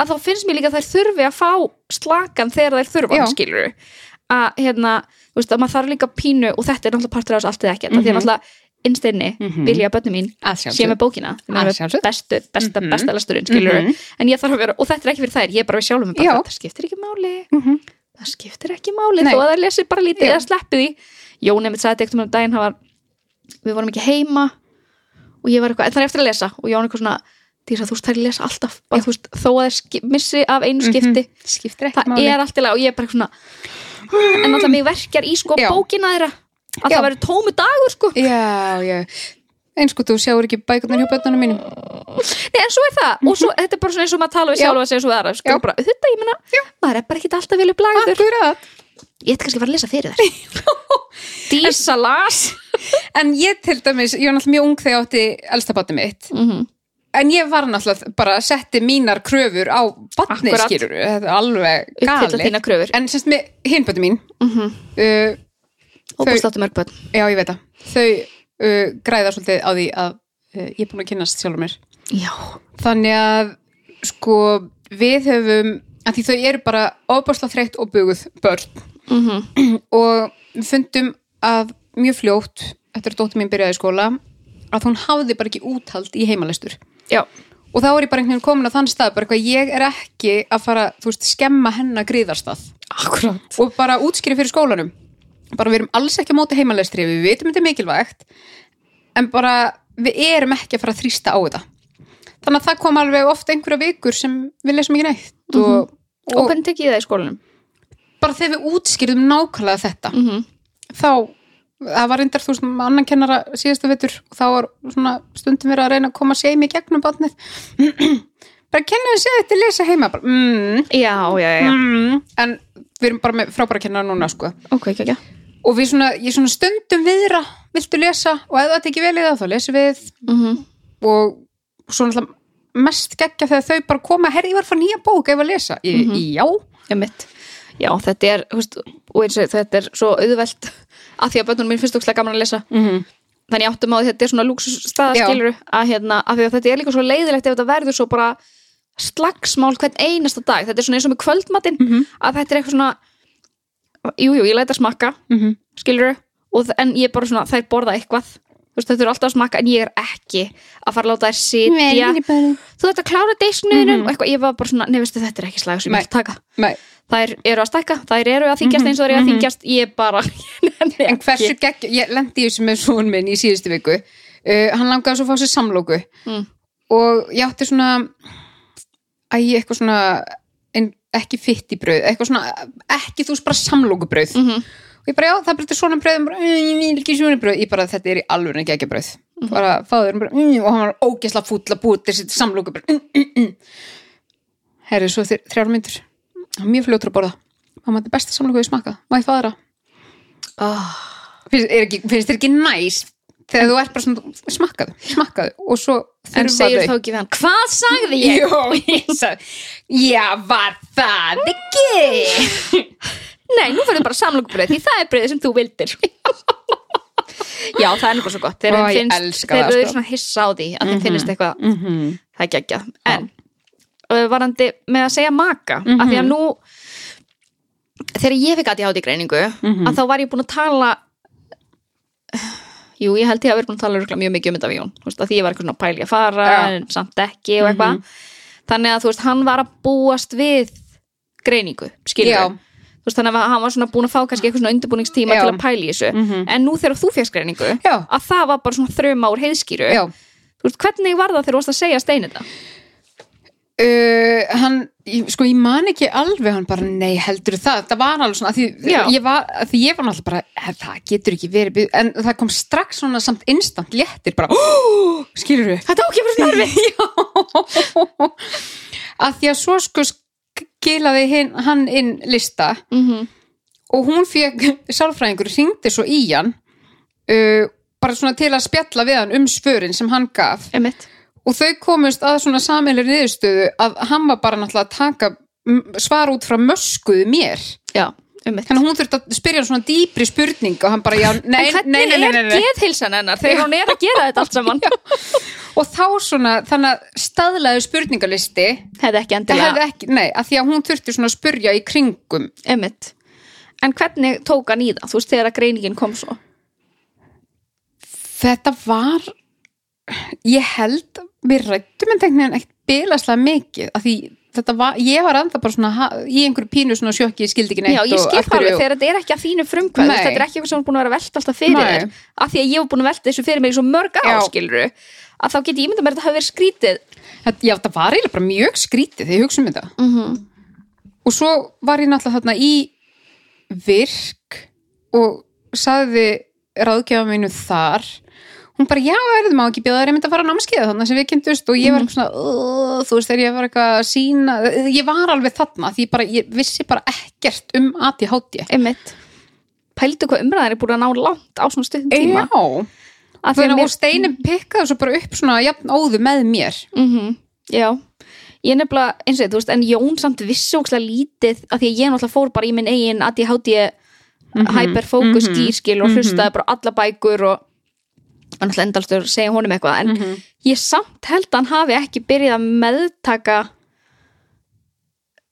S1: að þá finnst mér líka að þær þurfi að fá slakan þegar þær þurfa,
S3: Já.
S1: hann, skilur að hérna, þú veist, að maður þarf líka pínu og þetta er náttúrulega partur af þessu allt eða ekkert mm -hmm. því að náttúrulega innstinni
S3: Mhm.
S1: vilja að bönni mín
S3: Að
S1: sé
S3: sjálfsögðu.
S1: með bókina Hún er
S3: Að
S1: með
S3: sjálfsögðu.
S1: bestu, besta,
S3: Mhm.
S1: besta lesturinn, skilur
S3: Mhm.
S1: en ég þarf að vera, og þetta er ekki fyrir þær, ég er bara við sjálfum mér bara,
S3: Já.
S1: það skiptir ekki máli
S3: Mhm.
S1: það skiptir ekki máli,
S3: Nei.
S1: þó að það lesir bara lítið
S3: Já.
S1: eða sleppi því, Jón emitt sagði eitthvað um daginn, hann var, við vorum ekki heima og ég var eitthvað, en það er eftir að lesa og Jón eitthvað svona, Dísa, þú veist, þær lesa alltaf bara, þú veist, þó að þær missi af einu skipti
S3: Mhm. skiptir ekki
S1: það
S3: máli
S1: er allt í lagi og ég er bara eitthvað svona en alltaf mig verkjar í sko
S3: Já.
S1: bókina þeirra að
S3: Já.
S1: það verður tómu dagur sko
S3: já, já. eins og þú sjáur ekki bækurnar hjá börnunum mínum
S1: Nei, en svo er það, og svo, þetta er bara svona eins og maður tala við
S3: Já.
S1: sjálfa sig eins og við aðra, sko
S3: Já.
S1: bara, þetta, ég meina, maður er bara ekki alltaf vilja blagður,
S3: Akkurat.
S1: ég ætti kannski að fara að lesa fyrir þær Dísa las
S3: en ég til dæmis, ég var náttúrulega mjög ung þegar ég átti elsta batni mitt
S1: Mhm.
S3: en ég var náttúrulega bara að setti mínar kröfur á batnið
S1: Akkurat.
S3: skilur þetta er alveg
S1: uppfylla
S3: gali
S1: þína kröfur, Mhm.
S3: en semst með hinbötu mín uh,
S1: og
S3: þau-
S1: búið sláttu mörg börn
S3: já ég veit það þau uh, græða svolítið á því að uh, ég er búin að kynnast sjálfur mér
S1: Já,
S3: þannig að sko við höfum að því þau eru bara ofbásla þreytt og buguð börn
S1: Mhm.
S3: og við fundum að mjög fljótt eftir að dóttir mín byrjaði í skóla að hún hafði bara ekki úthald í heimalestur
S1: já,
S3: og þá er ég bara einhvern veginn komin á þann stað bara eitthvað ég er ekki að fara þú veist, skemma hennar gríðarstað
S1: akkurat
S3: og bara útskýri fyrir skólanum bara við erum alls ekki á móti heimalestri við vitum þetta er mikilvægt en bara við erum ekki að fara að þrýsta á þetta þannig að það kom alveg oft einhverja vikur sem við lesum ekki neitt og,
S1: Og
S3: og
S1: hvernig tekið þið það í skólanum?
S3: bara þegar við útskýrðum nákvæmlega þetta
S1: Mhm.
S3: þá það var reyndar þú veist með annan kennara síðasta vettur og þá var svona stundum verið að reyna að koma sér í mig gegnum batnið bara kennum sér þetta lesa heima bara, mm,
S1: Já, já, já, já,
S3: mm. en við erum bara með frábæra kennara núna sko
S1: ok, ekki, ekki
S3: og við svona, ég svona stundum viðra viltu lesa og ef þetta ekki vel í það þá lesum við
S1: Mhm.
S3: og svo náttúrulega mest geggja þegar þau bara koma, herri ég var fyrir nýja bók ef að lesa, ég, já
S1: Einmitt. Já, þetta er, þú veist, og eins og þetta er svo auðvelt að því að bönnunum mín finnst ókslega gaman að lesa
S3: mm -hmm.
S1: þannig ég áttum á því að þetta er svona
S3: Já.
S1: lúksusstaðaskilur að, hérna, að, því að þetta er líka svo leiðilegt ef þetta verður svo bara slagsmál hvern einasta dag þetta er svona eins og með kvöldmatinn
S3: Mhm.
S1: að þetta er eitthvað svona jújú, jú, ég læt að smakka,
S3: Mm -hmm.
S1: skilur og, þ- en ég er bara svona, þær borða eitthvað þú veist, þetta eru alltaf að smakka en ég er ekki að fara að láta þær
S3: Nei,
S1: sitja
S3: ég bara- Mhm.
S1: þú þetta klára deisknuðinum mm eitthvað, ég var bara svona, nefnistu þetta er ekki slagur sem ég
S3: Nei.
S1: ætla að taka
S3: Nei.
S1: þær eru að stækka, þær eru að þykjast eins og þær eru að þykjast ég bara nenni
S3: Mhm. En hversu
S1: ekki.
S3: gegg, ég lendi í þessu með svon minn í síðustu viku. Uh, hann langaði svo að fá sér samlóku
S1: Mm.
S3: og ég átti svona æ, eitthvað svona en ekki fitt í brauð, eitthvað svona ekki þú veist bara samlókubrauð
S1: Mhm.
S3: og ég bara já, það breytir svona brauð, Hann bara, "Mm, ég vil ekki svona brauð, ég bara þetta er í alvöru geggjabrauð,
S1: Mhm.
S3: bara fáður bara, mm, og hann var ógesla fúll að búið til sitt samlókubrauð mm, mm, mm. herri, svo þér þrjár myndur hann var mjög fljótur að borða hann var þetta er besta samlóku ég smakað, má ég fáður það
S1: oh,
S3: finnst, er ekki, finnst þér ekki næs þegar þú ert bara svona smakkaðu, smakkaðu og svo
S1: en
S3: þurfa
S1: segir
S3: þau
S1: þá ekki við hann, hvað sagði ég
S3: Jó, ég sagði, já, var það ekki
S1: nei, nú færðu bara samlokubröð því það er bröðið sem þú vildir já, það er nokkuð svo gott þeir,
S3: Ó, ég
S1: finnst,
S3: elska
S1: þeir
S3: það,
S1: eru
S3: sko.
S1: svona hissa á því að þeim finnst eitthvað
S3: mm -hmm.
S1: það er geggjað en uh, varandi með að segja maka af
S3: Mhm.
S1: því að nú þegar ég fikk aðið í greiningu
S3: Mhm.
S1: að þá var ég búin að tala jú, ég held ég að vera búin að tala örugglega mjög mikið um þetta við Jón þú veist, að því ég var eitthvað svona pæli að fara
S3: Já. Mhm.
S1: en samt ekki og eitthvað þannig að þú veist, hann var að búast við greiningu, skilur
S3: Já.
S1: þú veist, þannig að hann var svona búin að fá kannski eitthvað svona undirbúningstíma
S3: Já. Mhm.
S1: til að pæli þessu en nú þegar þú férst greiningu
S3: Já.
S1: að það var bara svona þrjum ár heiðskýru
S3: Já,
S1: Þú veist, hvernig var það þegar þú varst að segja stein þetta?
S3: uh, hann, ég- sko ég man ekki alveg hann bara, nei heldur það, það var alveg svona, af því
S1: Já.
S3: ég var, af því ég var náttúrulega bara, "Eh, það getur ekki verið, bið- en það kom strax svona samt instant léttir, bara, "Oh!" "Ó, skilur við,
S1: Þetta ákjör fyrir snarfi
S3: að því að svo sko skilaði hin, hann inn lista
S1: mm -hmm.
S3: og hún fekk sálfræðingur hringdi svo í hann uh, bara svona til að spjalla við hann um svörin sem hann gaf
S1: Emitt
S3: og þau komust að svona sameilir niðurstöðu að hann var bara náttúrulega að taka mm, svar út frá möskuðu mér
S1: Já, emitt
S3: þannig að hún þurfti að spyrja hann svona dýpri spurning og hann bara já, nei,
S1: En hvernig
S3: nei, nei, nei, nei, nei.
S1: er geðhilsan hennar þegar hún er að gera þetta allt saman?
S3: og þá svona, þannig að staðlaðu spurningalisti
S1: Hefði ekki
S3: það
S1: endilega
S3: hefði ekki, nei, að því að hún þurfti svona að spurja í kringum
S1: Emitt En hvernig tók hann í það? Þú veist, þegar að greiningin kom svo
S3: þetta var ég held við rættum en tegnin ekkert bilaslega mikið af því þetta var, ég var enda bara svona ha- í einhverju pínu svona sjokki, ég skildi ekki neitt
S1: Já, ég
S3: og
S1: skil
S3: af
S1: það
S3: hverju-
S1: alveg þegar þetta er ekki að þínu frumkvæð þú veist,
S3: Nei.
S1: Þetta er ekki eitthvað sem hún er búin að vera að velta alltaf fyrir
S3: Nei.
S1: þér Af því að ég hef búin að velta þessu fyrir mig í svo mörg
S3: Já.
S1: áskilru Að þá get ég ímynda mér að þetta hafi verið skrítið
S3: Þetta- já, það var eiginlega bara mjög skrítið þegar ég hugsa um þetta
S1: -hmm.
S3: og svo var ég náttúrulega þarna í virk og sagði ráðgjafa mínu þar hún bara, já, erum maður ekki bjóðar ég myndi að fara á námskeiða þarna sem við kynntumst og
S1: Mhm.
S3: ég var eitthvað svona, "Ugh," þú veist, þegar ég var eitthvað að sína, ég var alveg þarna því ég bara, ég vissi bara ekkert um ADHD
S1: Emitt Pældu hvað umræðan er búin að ná langt á svona stuttum tíma
S3: Já,
S1: Af því að
S3: þannig
S1: mér-
S3: að og steinin pikkaði svo bara upp svona jafn óðu með mér
S1: mm Já, ég nefnilega eins og þetta, þú veist, en Jón samt vissi ókslega lítið af því að ég náttúrulega fór bara í minn eigin ADHD hyperfocus
S3: mhm,
S1: gýrskil og
S3: mhm.
S1: hlustaði bara á alla bækur og og náttúrulega endalstur að segja honum eitthvað en
S3: Mhm.
S1: ég samt held að hann hafi ekki byrjað að meðtaka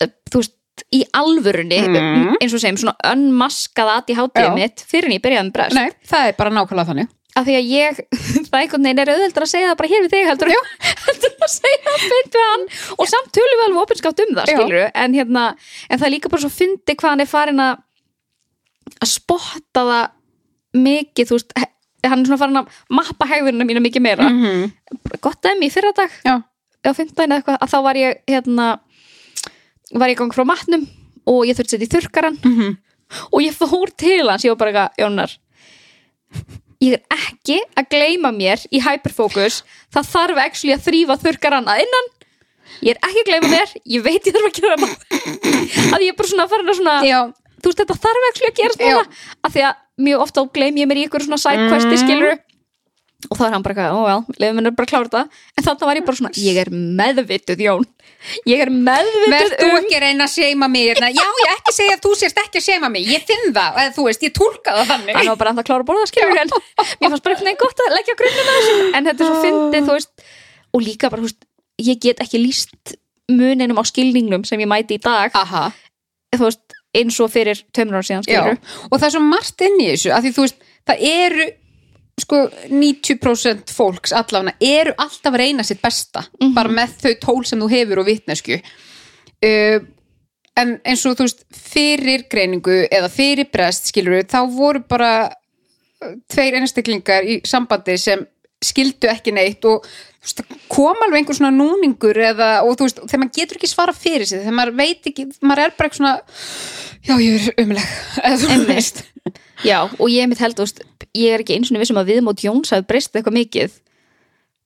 S1: eh, þú veist í alvörunni
S3: Mhm.
S1: eins og segjum svona önmaskað ADHD
S3: Já.
S1: mitt fyrir en ég byrjaði um brest
S3: Nei, það er bara nákvæmlega þannig
S1: af því að ég, það einhvern veginn er auðveldur að segja það bara hér við þig heldur, heldur en að segja það beint við hann og samt tölum við alveg opinskátt um það
S3: Já.
S1: skilur en, hérna, en það er líka bara svo fyndi hvað hann er farin að að spotta það mikið þú veist, he- hann er svona farin að mappa hegðunina mína mikið meira
S3: -hmm.
S1: gott dæmi í fyrra dag
S3: Já,
S1: eða fimmtudaginn eða eitthvað, að þá var ég hérna, var ég í gang frá matnum og ég þurfti að setja í þurrkaran
S3: Mhm.
S1: og ég fór til hans ég var bara eitthvað, Jónar ég er ekki að gleyma mér í hyperfocus, það þarf actually að þrýfa þurrkaran að innan ég er ekki að gleyma mér, ég veit ég þarf að gera það að ég er bara svona farin að svona
S3: já,
S1: þú veist þetta þarf ekki að gerast
S3: Já.
S1: núna af því að mjög ofta gleym ég mér í ykkur svona sidequesti
S3: Mhm.
S1: mm. skilur og þá er hann bara eitthvað, ó já, leiðum mér bara að klára þetta en þannig var ég bara svona, ég er meðvituð Jón, ég er meðvituð
S3: Verð þú
S1: um
S3: ekki að reyna að seima mig hérna? Já, ég ekki segja að þú sért ekki að seima mig Ég finn það, eða þú veist, ég tólka það þannig
S1: hann var bara ennþá að klára að borða skilur en mér fannst bara eitthvað gott að leggja grunnum að þessu en þetta er svo fyndið, þú veist og líka bara, þú veist, ég get ekki líst muninum á skilningnum sem ég mæti í dag,
S3: Aha,
S1: þú veist, eins og fyrir tömur ára síðan
S3: já
S1: skilur
S3: Og það er svo margt inn í þessu að því þú veist, það eru sko 90% fólks allafna eru alltaf að reyna sitt besta bara með þau tól sem þú hefur og vitnesku uh, en eins og þú veist fyrir greiningu eða fyrir brest skilur við, þá voru bara uh, tveir einstaklingar í sambandi sem skildu ekki neitt og þú veist, það kom alveg einhver svona núningur eða, og þú veist, þegar maður getur ekki svara fyrir sig, þegar maður veit ekki, maður er bara eitthvað svona já, ég er umleg eða þú veist
S1: Já, og ég mitt held, þú veist, ég er ekki eins og vissum um að viðmót Jóns hafi breyst eitthvað mikið.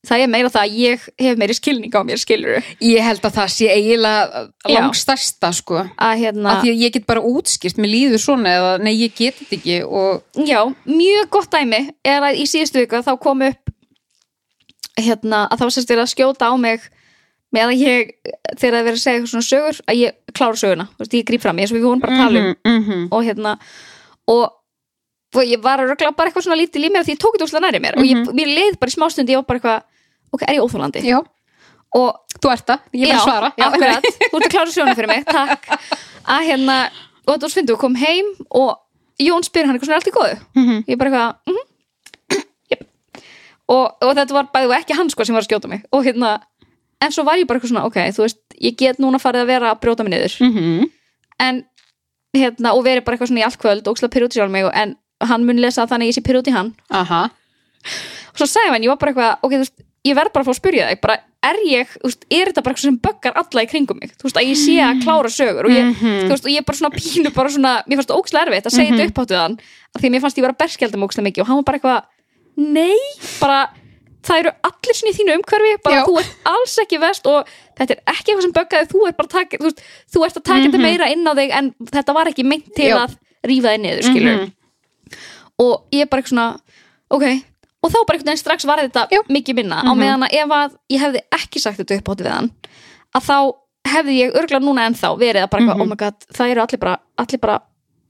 S1: Það er meira það að ég hef meiri skilning á mér, skilur
S3: Ég held að það sé eiginlega
S1: Já.
S3: langstærsta sko
S1: að hérna,
S3: af því að ég get bara útskýrt, mér líður svona eða nei, ég get þetta ekki og
S1: já, mjög gott dæmi er að í síðustu viku þá kom upp hérna, að þá sérst þér að skjóta á mig með að ég, þegar það verið að segja eitthvað svona sögur, að ég klára söguna, þú veist, ég gríp fram, ég sem við vorum bara að tala um
S3: mm -hmm.
S1: og hérna, og og ég var að rögla bara eitthvað svona lítið í mér af því ég tók þetta úrslega næri mér og ég, mér leið bara í smástundi, ég var bara eitthvað, ok, er ég óþólandi?
S3: Mhm. Já,
S1: Og
S3: þú ert það, ég er bara að svara
S1: já, akkurat, þú ert að klára sjónu fyrir mig, takk að hérna, og þetta var svindu, kom heim og Jón spyr hann eitthvað svona "Er allt í góðu
S3: Mhm.
S1: ég bara eitthvað mm -hmm. og, og þetta var bæði og ekki hann sko sem var að skjóta mig og hérna, en svo var ég bara eitthvað svona ok, þú veist, ég get núna farið að vera að brjóta mig niður
S3: mm -hmm.
S1: en hérna, og verið bara eitthvað svona í allt kvöld og ókslega pyrrúti sjálf mig, og- en hann mun lesa að þannig að ég sé pyrrúti hann
S3: Aha,
S1: og svo sagði hann, ég var bara eitthvað, ok, þú veist ég verð bara að fá að spyrja þig, bara er ég þú veist, er þetta bara eitthvað sem böggar alla í kringum mig þú veist, að ég sé að klára sögur og ég,
S3: Mhm.
S1: þú veist, og ég bara svona pínu, bara svona mér fannst ókslega erfitt að segja þetta upp áttu þann af því að mér fannst ég vera berskjaldum ókslega mikið og hann var bara eitthvað, nei, bara það eru allir sinni í þínu umhverfi bara
S3: Já.
S1: þú ert alls ekki vest og þetta er ekki eitthvað sem böggaði, þú ert bara að taka, þú, veist, þú ert að taka þetta meira inn á þig en þetta var ekki meint til
S3: Mhm. Já. Mhm.
S1: að rífa þig niður, skilur Mhm. og ég bara eitthvað svona ok, og þá bara einhvern veginn strax var þetta
S3: Já. Mhm.
S1: mikið minna, á meðan að ef að ég hefði ekki sagt þetta upp við hann að þá hefði ég örgla núna ennþá verið að bara eitthvað, oh my god, það eru allir bara allir bara,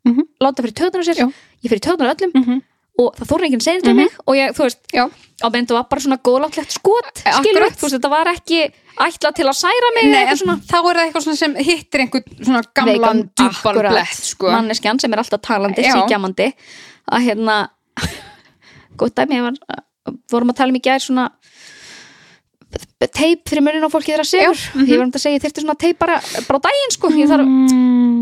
S3: Mhm.
S1: láta fyrir töðunar sér
S3: Já.
S1: ég fyrir töðunar öllum
S3: Mhm.
S1: og það þóra enginn segir þetta um mig og ég, þú veist,
S3: já, Eh,
S1: á meðan þetta var bara svona góðláttlegt skot,
S3: Akkurat.
S1: skilur þú veist, þetta var ekki ætlað til að særa mig eða
S3: nei, en
S1: eitthvað svona
S3: þá er það eitthvað svona sem hittir einhvern svona gamlan
S1: Veikan-
S3: djúpan
S1: Akkurat.
S3: blett sko
S1: manneskjan sem er alltaf talandi,
S3: Já.
S1: síkjamandi að hérna gott dæmi, ég var, vorum að tala um í gær svona teip fyrir munin á fólki þeirra sigur
S3: mhm.
S1: ég var um þetta að segja, ég þyrfti svona teip bara, bara á daginn sko, ég þarf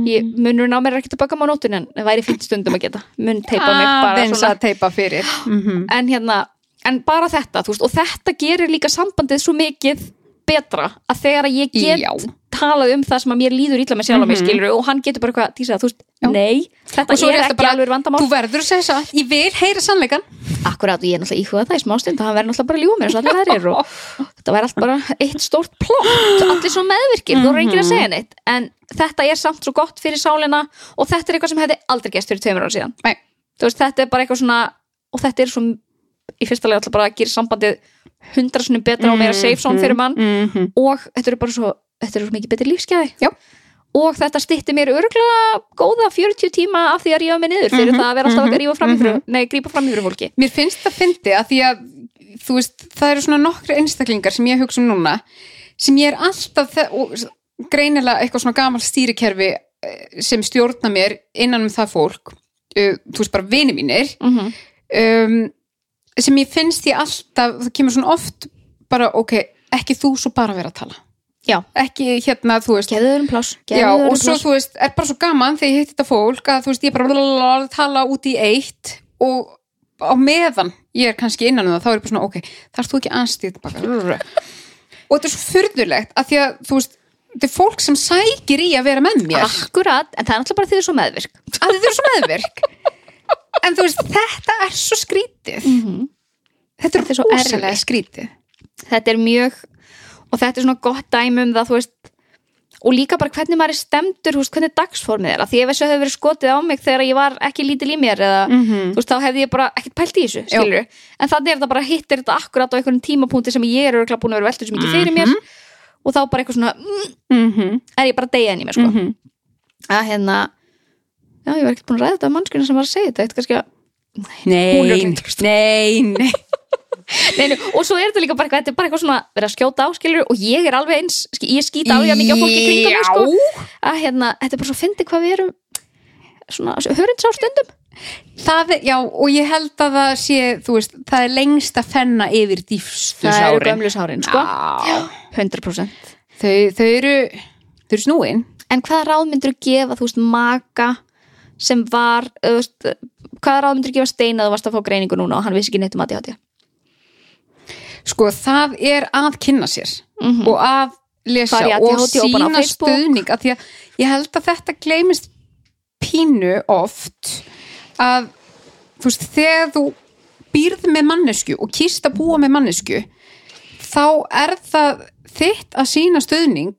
S3: Mm.
S1: ég, munurinn á mér er ekkert að baka mig á nótun en það væri fínt stundum að geta mun teipa mig bara
S3: aðeins
S1: svona
S3: að teipa fyrir mm -hmm.
S1: en hérna, en bara þetta þú veist, og þetta gerir líka sambandið svo mikið betra að þegar að ég get
S3: Já.
S1: talað um það sem að mér líður illa með sjálf á mig skilur og hann getur bara eitthvað, Dísa, þú veist,
S3: Já.
S1: nei þetta
S3: og svo
S1: er
S3: er
S1: ekki
S3: þetta bara,
S1: alveg vandamál
S3: þú verður að segja það ég vil heyra sannleikan
S1: akkurat og ég er náttúrulega íhugað það í smástund og hann verður náttúrulega bara að ljúga mér eins og allir aðrir og þetta væri allt bara eitt stórt plott allir svo meðvirkir, þú eru enginn að segja neitt en þetta er samt svo gott fyrir sálina og þetta er eitthvað sem hefði aldrei gæst fyrir tveimur ára síðan
S3: Nei.
S1: þú veist, þetta er bara eitthvað svona og þetta er svo, í fyrsta lega alltaf bara að gera sambandið hundra svona betra og meira safe zone fyrir mann
S3: mm -hmm.
S1: og þetta eru bara svo, þetta eru svo mikið betri lífsgæði
S3: Já.
S1: og þetta stytti mér örgulega góða 40 tíma af því að rífa mig niður fyrir það að vera alltaf að rífa fram í fyrir, nei, grípa fram í fyrir fólki
S3: Mér finnst það fyndi að því að þú veist, það eru svona nokkri einstaklingar sem ég hugsa um núna sem ég er alltaf þe- og s- greinilega eitthvað svona gamal stýrikerfi eh, sem stjórna mér innan um það fólk uh, þú veist bara vini mínir
S1: mm
S3: um, sem ég finnst ég alltaf það kemur svona oft bara ok, ekki þú svo bara vera að tala
S1: Já.
S3: ekki hérna þú veist
S1: gefðu öðrum pláss
S3: Já, og svo þú veist, er bara svo gaman þegar ég hitti þetta fólk að þú veist, ég bara lalalala, tala út í eitt og á meðan ég er kannski innan um það, þá er ég bara svona, ok þarst þú ekki anstíð baka og þetta er svo furðulegt að því að þú veist, þetta er fólk sem sækir í að vera með mér,
S1: akkurat, en það er náttúrulega bara því þið er svo meðvirk
S3: að þetta er svo meðvirk en þú veist, þetta er svo skrítið þetta er,
S1: Mhm. Þetta er svo
S3: svo erfilega
S1: erfitt.
S3: skrítið
S1: þetta er mjög, og þetta er svona gott dæmi um það, þú veist og líka bara hvernig maður er stemdur, þú veist, hvernig dagsformið er að því ef þessu hefur verið skotið á mig þegar ég var ekki lítil í mér eða, þú veist, þá hefði ég bara ekkert pælt í þessu, skilur en þannig er þetta bara hittir þetta akkurat á einhvern tímapunkti sem ég er örugglega búin að vera veltur sem ekki fyrir mér og þá bara eitthvað svona, mm,
S3: mm -hmm.
S1: er ég bara að deyja inn í mér, sko að hérna, já, ég var ekkert búin að ræða þetta mannskjörn sem var að segja þetta, eitt kannski að Hún er
S3: Nei,
S1: örugglega
S3: nei, nei
S1: Nei, nei, og svo er þetta líka bara eitthvað, þetta er bara eitthvað svona verið að skjóta á, skilur, og ég er alveg eins sk- ég skýta alveg að mikið á fólki í kringum mig, sko,
S3: Já.
S1: að hérna, þetta er bara svo fyndi hvað við erum svona, hörund sá stundum
S3: Það er, já, og ég held að það sé, þú veist, það er lengst að fenna yfir dýfstu
S1: það eru
S3: sárin.
S1: gömlu sárin sko.
S3: Já.
S1: 100%
S3: Þau, þau eru, þau eru snúin.
S1: en hvaða ráð myndur þú gefa þú veist maka sem var þú veist, hvaða ráð myndur þú gefa steina þú varst að fá greiningu núna og hann vissi ekki neitt um ADHD
S3: Sko, það er að kynna sér og að lesa
S1: Mhm. Fara í
S3: og
S1: ADHD og bara á
S3: sína
S1: Facebook.
S3: stuðning. Af því að ég held að þetta gleymist pínu oft að, þú veist, þegar þú býrð með mannesku og kýrst að búa með mannesku, þá er það þitt að sína stuðning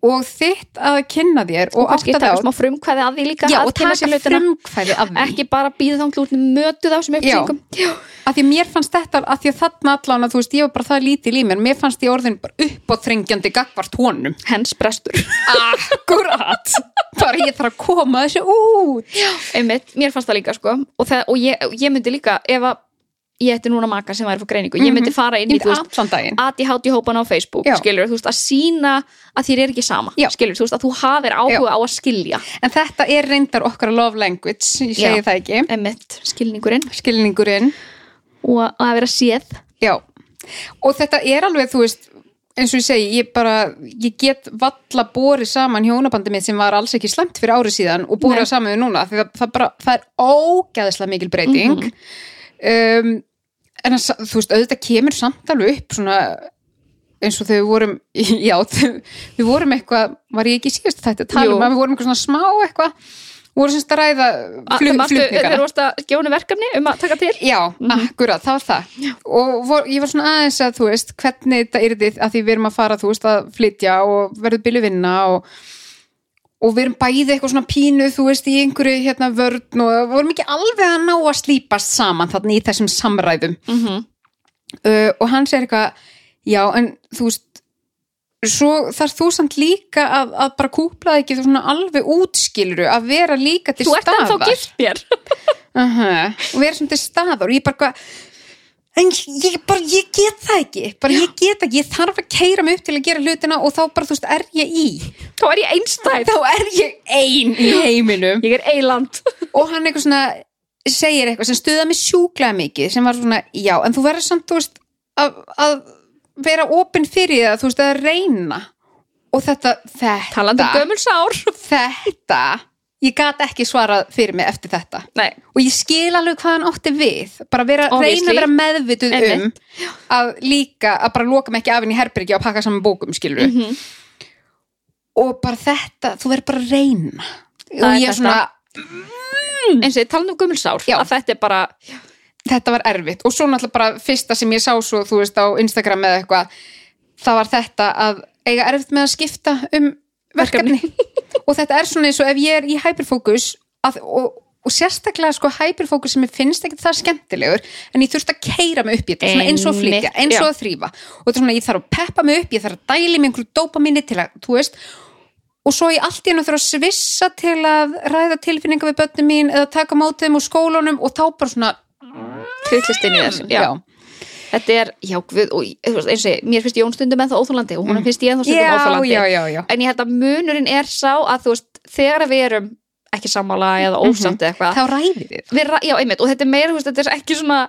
S3: og þitt að kynna þér og,
S1: og kannski
S3: átta þig á
S1: taka smá frumkvæði að því líka
S3: Já,
S1: að
S3: og
S1: kynna
S3: taka
S1: sér hlutina.
S3: frumkvæði af því.
S1: ekki bara býða þá hlutinu mötu þá sem upplýsingum Já.
S3: að því að mér fannst þetta að því að þarna allan að þú veist ég var bara það lítil í mér mér fannst ég orðin bara uppáþrengjandi gagvart honum
S1: hens brestur
S3: akkurat bara ég þarf að koma þessu út
S1: Einmitt, mér fannst það líka sko og, það, og ég, ég myndi líka ef að ég ætti núna maka sem væri fyrir greiningu ég myndi fara inn í
S3: í
S1: þú veist
S3: allan daginn
S1: ADHD hópana á Facebook
S3: Já.
S1: skilur, þú veist, að sína að þér er ekki sama
S3: Já.
S1: skilur, þú veist, að þú hafir áhuga á að skilja
S3: en þetta er reyndar okkar love language ég segi
S1: Já.
S3: það ekki
S1: emitt, skilningurinn
S3: skilningurinn
S1: og að- að vera séð
S3: já og þetta er alveg þú veist eins og ég segi, ég bara, ég get valla borið saman hjónabandi mitt sem var alls ekki slemt fyrir árið síðan og borið
S1: Nei.
S3: það saman við núna, því það, það bara, það er ógæðislega mikil breyting
S1: Mhm.
S3: um, en að, sa- þú veist, auðvitað kemur samt alveg upp svona eins og þegar við vorum já, þau- við vorum eitthvað, var ég ekki síðast þetta að tala
S1: Jú.
S3: um að við vorum eitthvað svona smá eitthvað vorum semst að ræða
S1: um
S3: flug, flugningar
S1: þegar varst að gefa henni verkefni um að taka til
S3: Já,
S1: Mhm.
S3: akkurat, það var það og vor, ég var svona aðeins að þú veist hvernig þetta yrði að því við erum að fara þú veist að flytja og verður bíluvinna og, og við erum bæði eitthvað svona pínu þú veist í einhverju hérna vörn og vorum ekki alveg að ná að slípast saman þarna í þessum samræðum
S1: mm -hmm.
S3: uh, og hann segir eitthvað já en þú veist svo þarf þú samt líka að, að bara kúpla þig ekki þú svona alveg útskiluru að vera líka til
S1: þú ert
S3: staðar
S1: ennþá gift mér
S3: -huh. og vera svona til staðar og ég bara hvað en ég bara, ég get það ekki bara ég get ekki, ég þarf að keira mig upp til að gera hlutina og þá bara, þú veist, er ég í
S1: þá er ég einstæð
S3: þá er ég ein í heiminum
S1: ég er eiland
S3: og hann eitthvað svona segir eitthvað sem stuða mig sjúklega mikið sem var svona, já, en þú verður samt, þú veist að, að vera opinn fyrir það, þú veist, að reyna og þetta, þetta
S1: talandi um gömul sár
S3: þetta ég gat ekki svarað fyrir mig eftir þetta
S1: Nei.
S3: og ég skil alveg hvað hann átti við bara vera,
S1: Obviously.
S3: reyna að vera meðvituð um
S1: Einmitt.
S3: að líka, að bara loka mig ekki af inn í herbyrgi og pakka saman bókum skilur
S1: Mhm.
S3: og bara þetta, þú verður bara að reyna
S1: Það
S3: og
S1: er
S3: ég er
S1: þetta.
S3: svona,
S1: eins og ég talandi um gömul sár
S3: Já.
S1: að þetta er bara
S3: þetta var erfitt og svo náttúrulega bara fyrsta sem ég sá svo, þú veist, á Instagram eða eitthvað það var þetta að eiga erfitt með að skipta um verkefni, og þetta er svona eins og ef ég er í hyperfókus að, og, og sérstaklega sko hyperfókus sem ég finnst ekkert það skemmtilegur en ég þurft að keira mig upp í þetta, svona eins og að flytja
S1: Einmitt,
S3: eins og
S1: já.
S3: að þrýfa og þetta er svona ég þarf að peppa mig upp, ég þarf að dæli mig einhverju dópa minni til að, þú veist og svo ég allt í hennu þurfa að svissa til að ræða tilfinninga við börnum mín eða taka mótið um úr skólanum og þá bara svona
S1: hlutlist inn í þess já.
S3: já.
S1: þetta er, já, við, og, þú veist, eins og ég, mér finnst Jón stundum ennþá óþólandi og hún finnst ég ennþá stundum óþólandi
S3: Mm. já, já, já.
S1: en ég held að munurinn er sá að þú veist, þegar við erum ekki sammála eða ósamt eða eitthvað
S3: Mhm. Þá ræðir þið.
S1: við, ra- já, einmitt, og þetta er meira, þú veist, þetta er ekki svona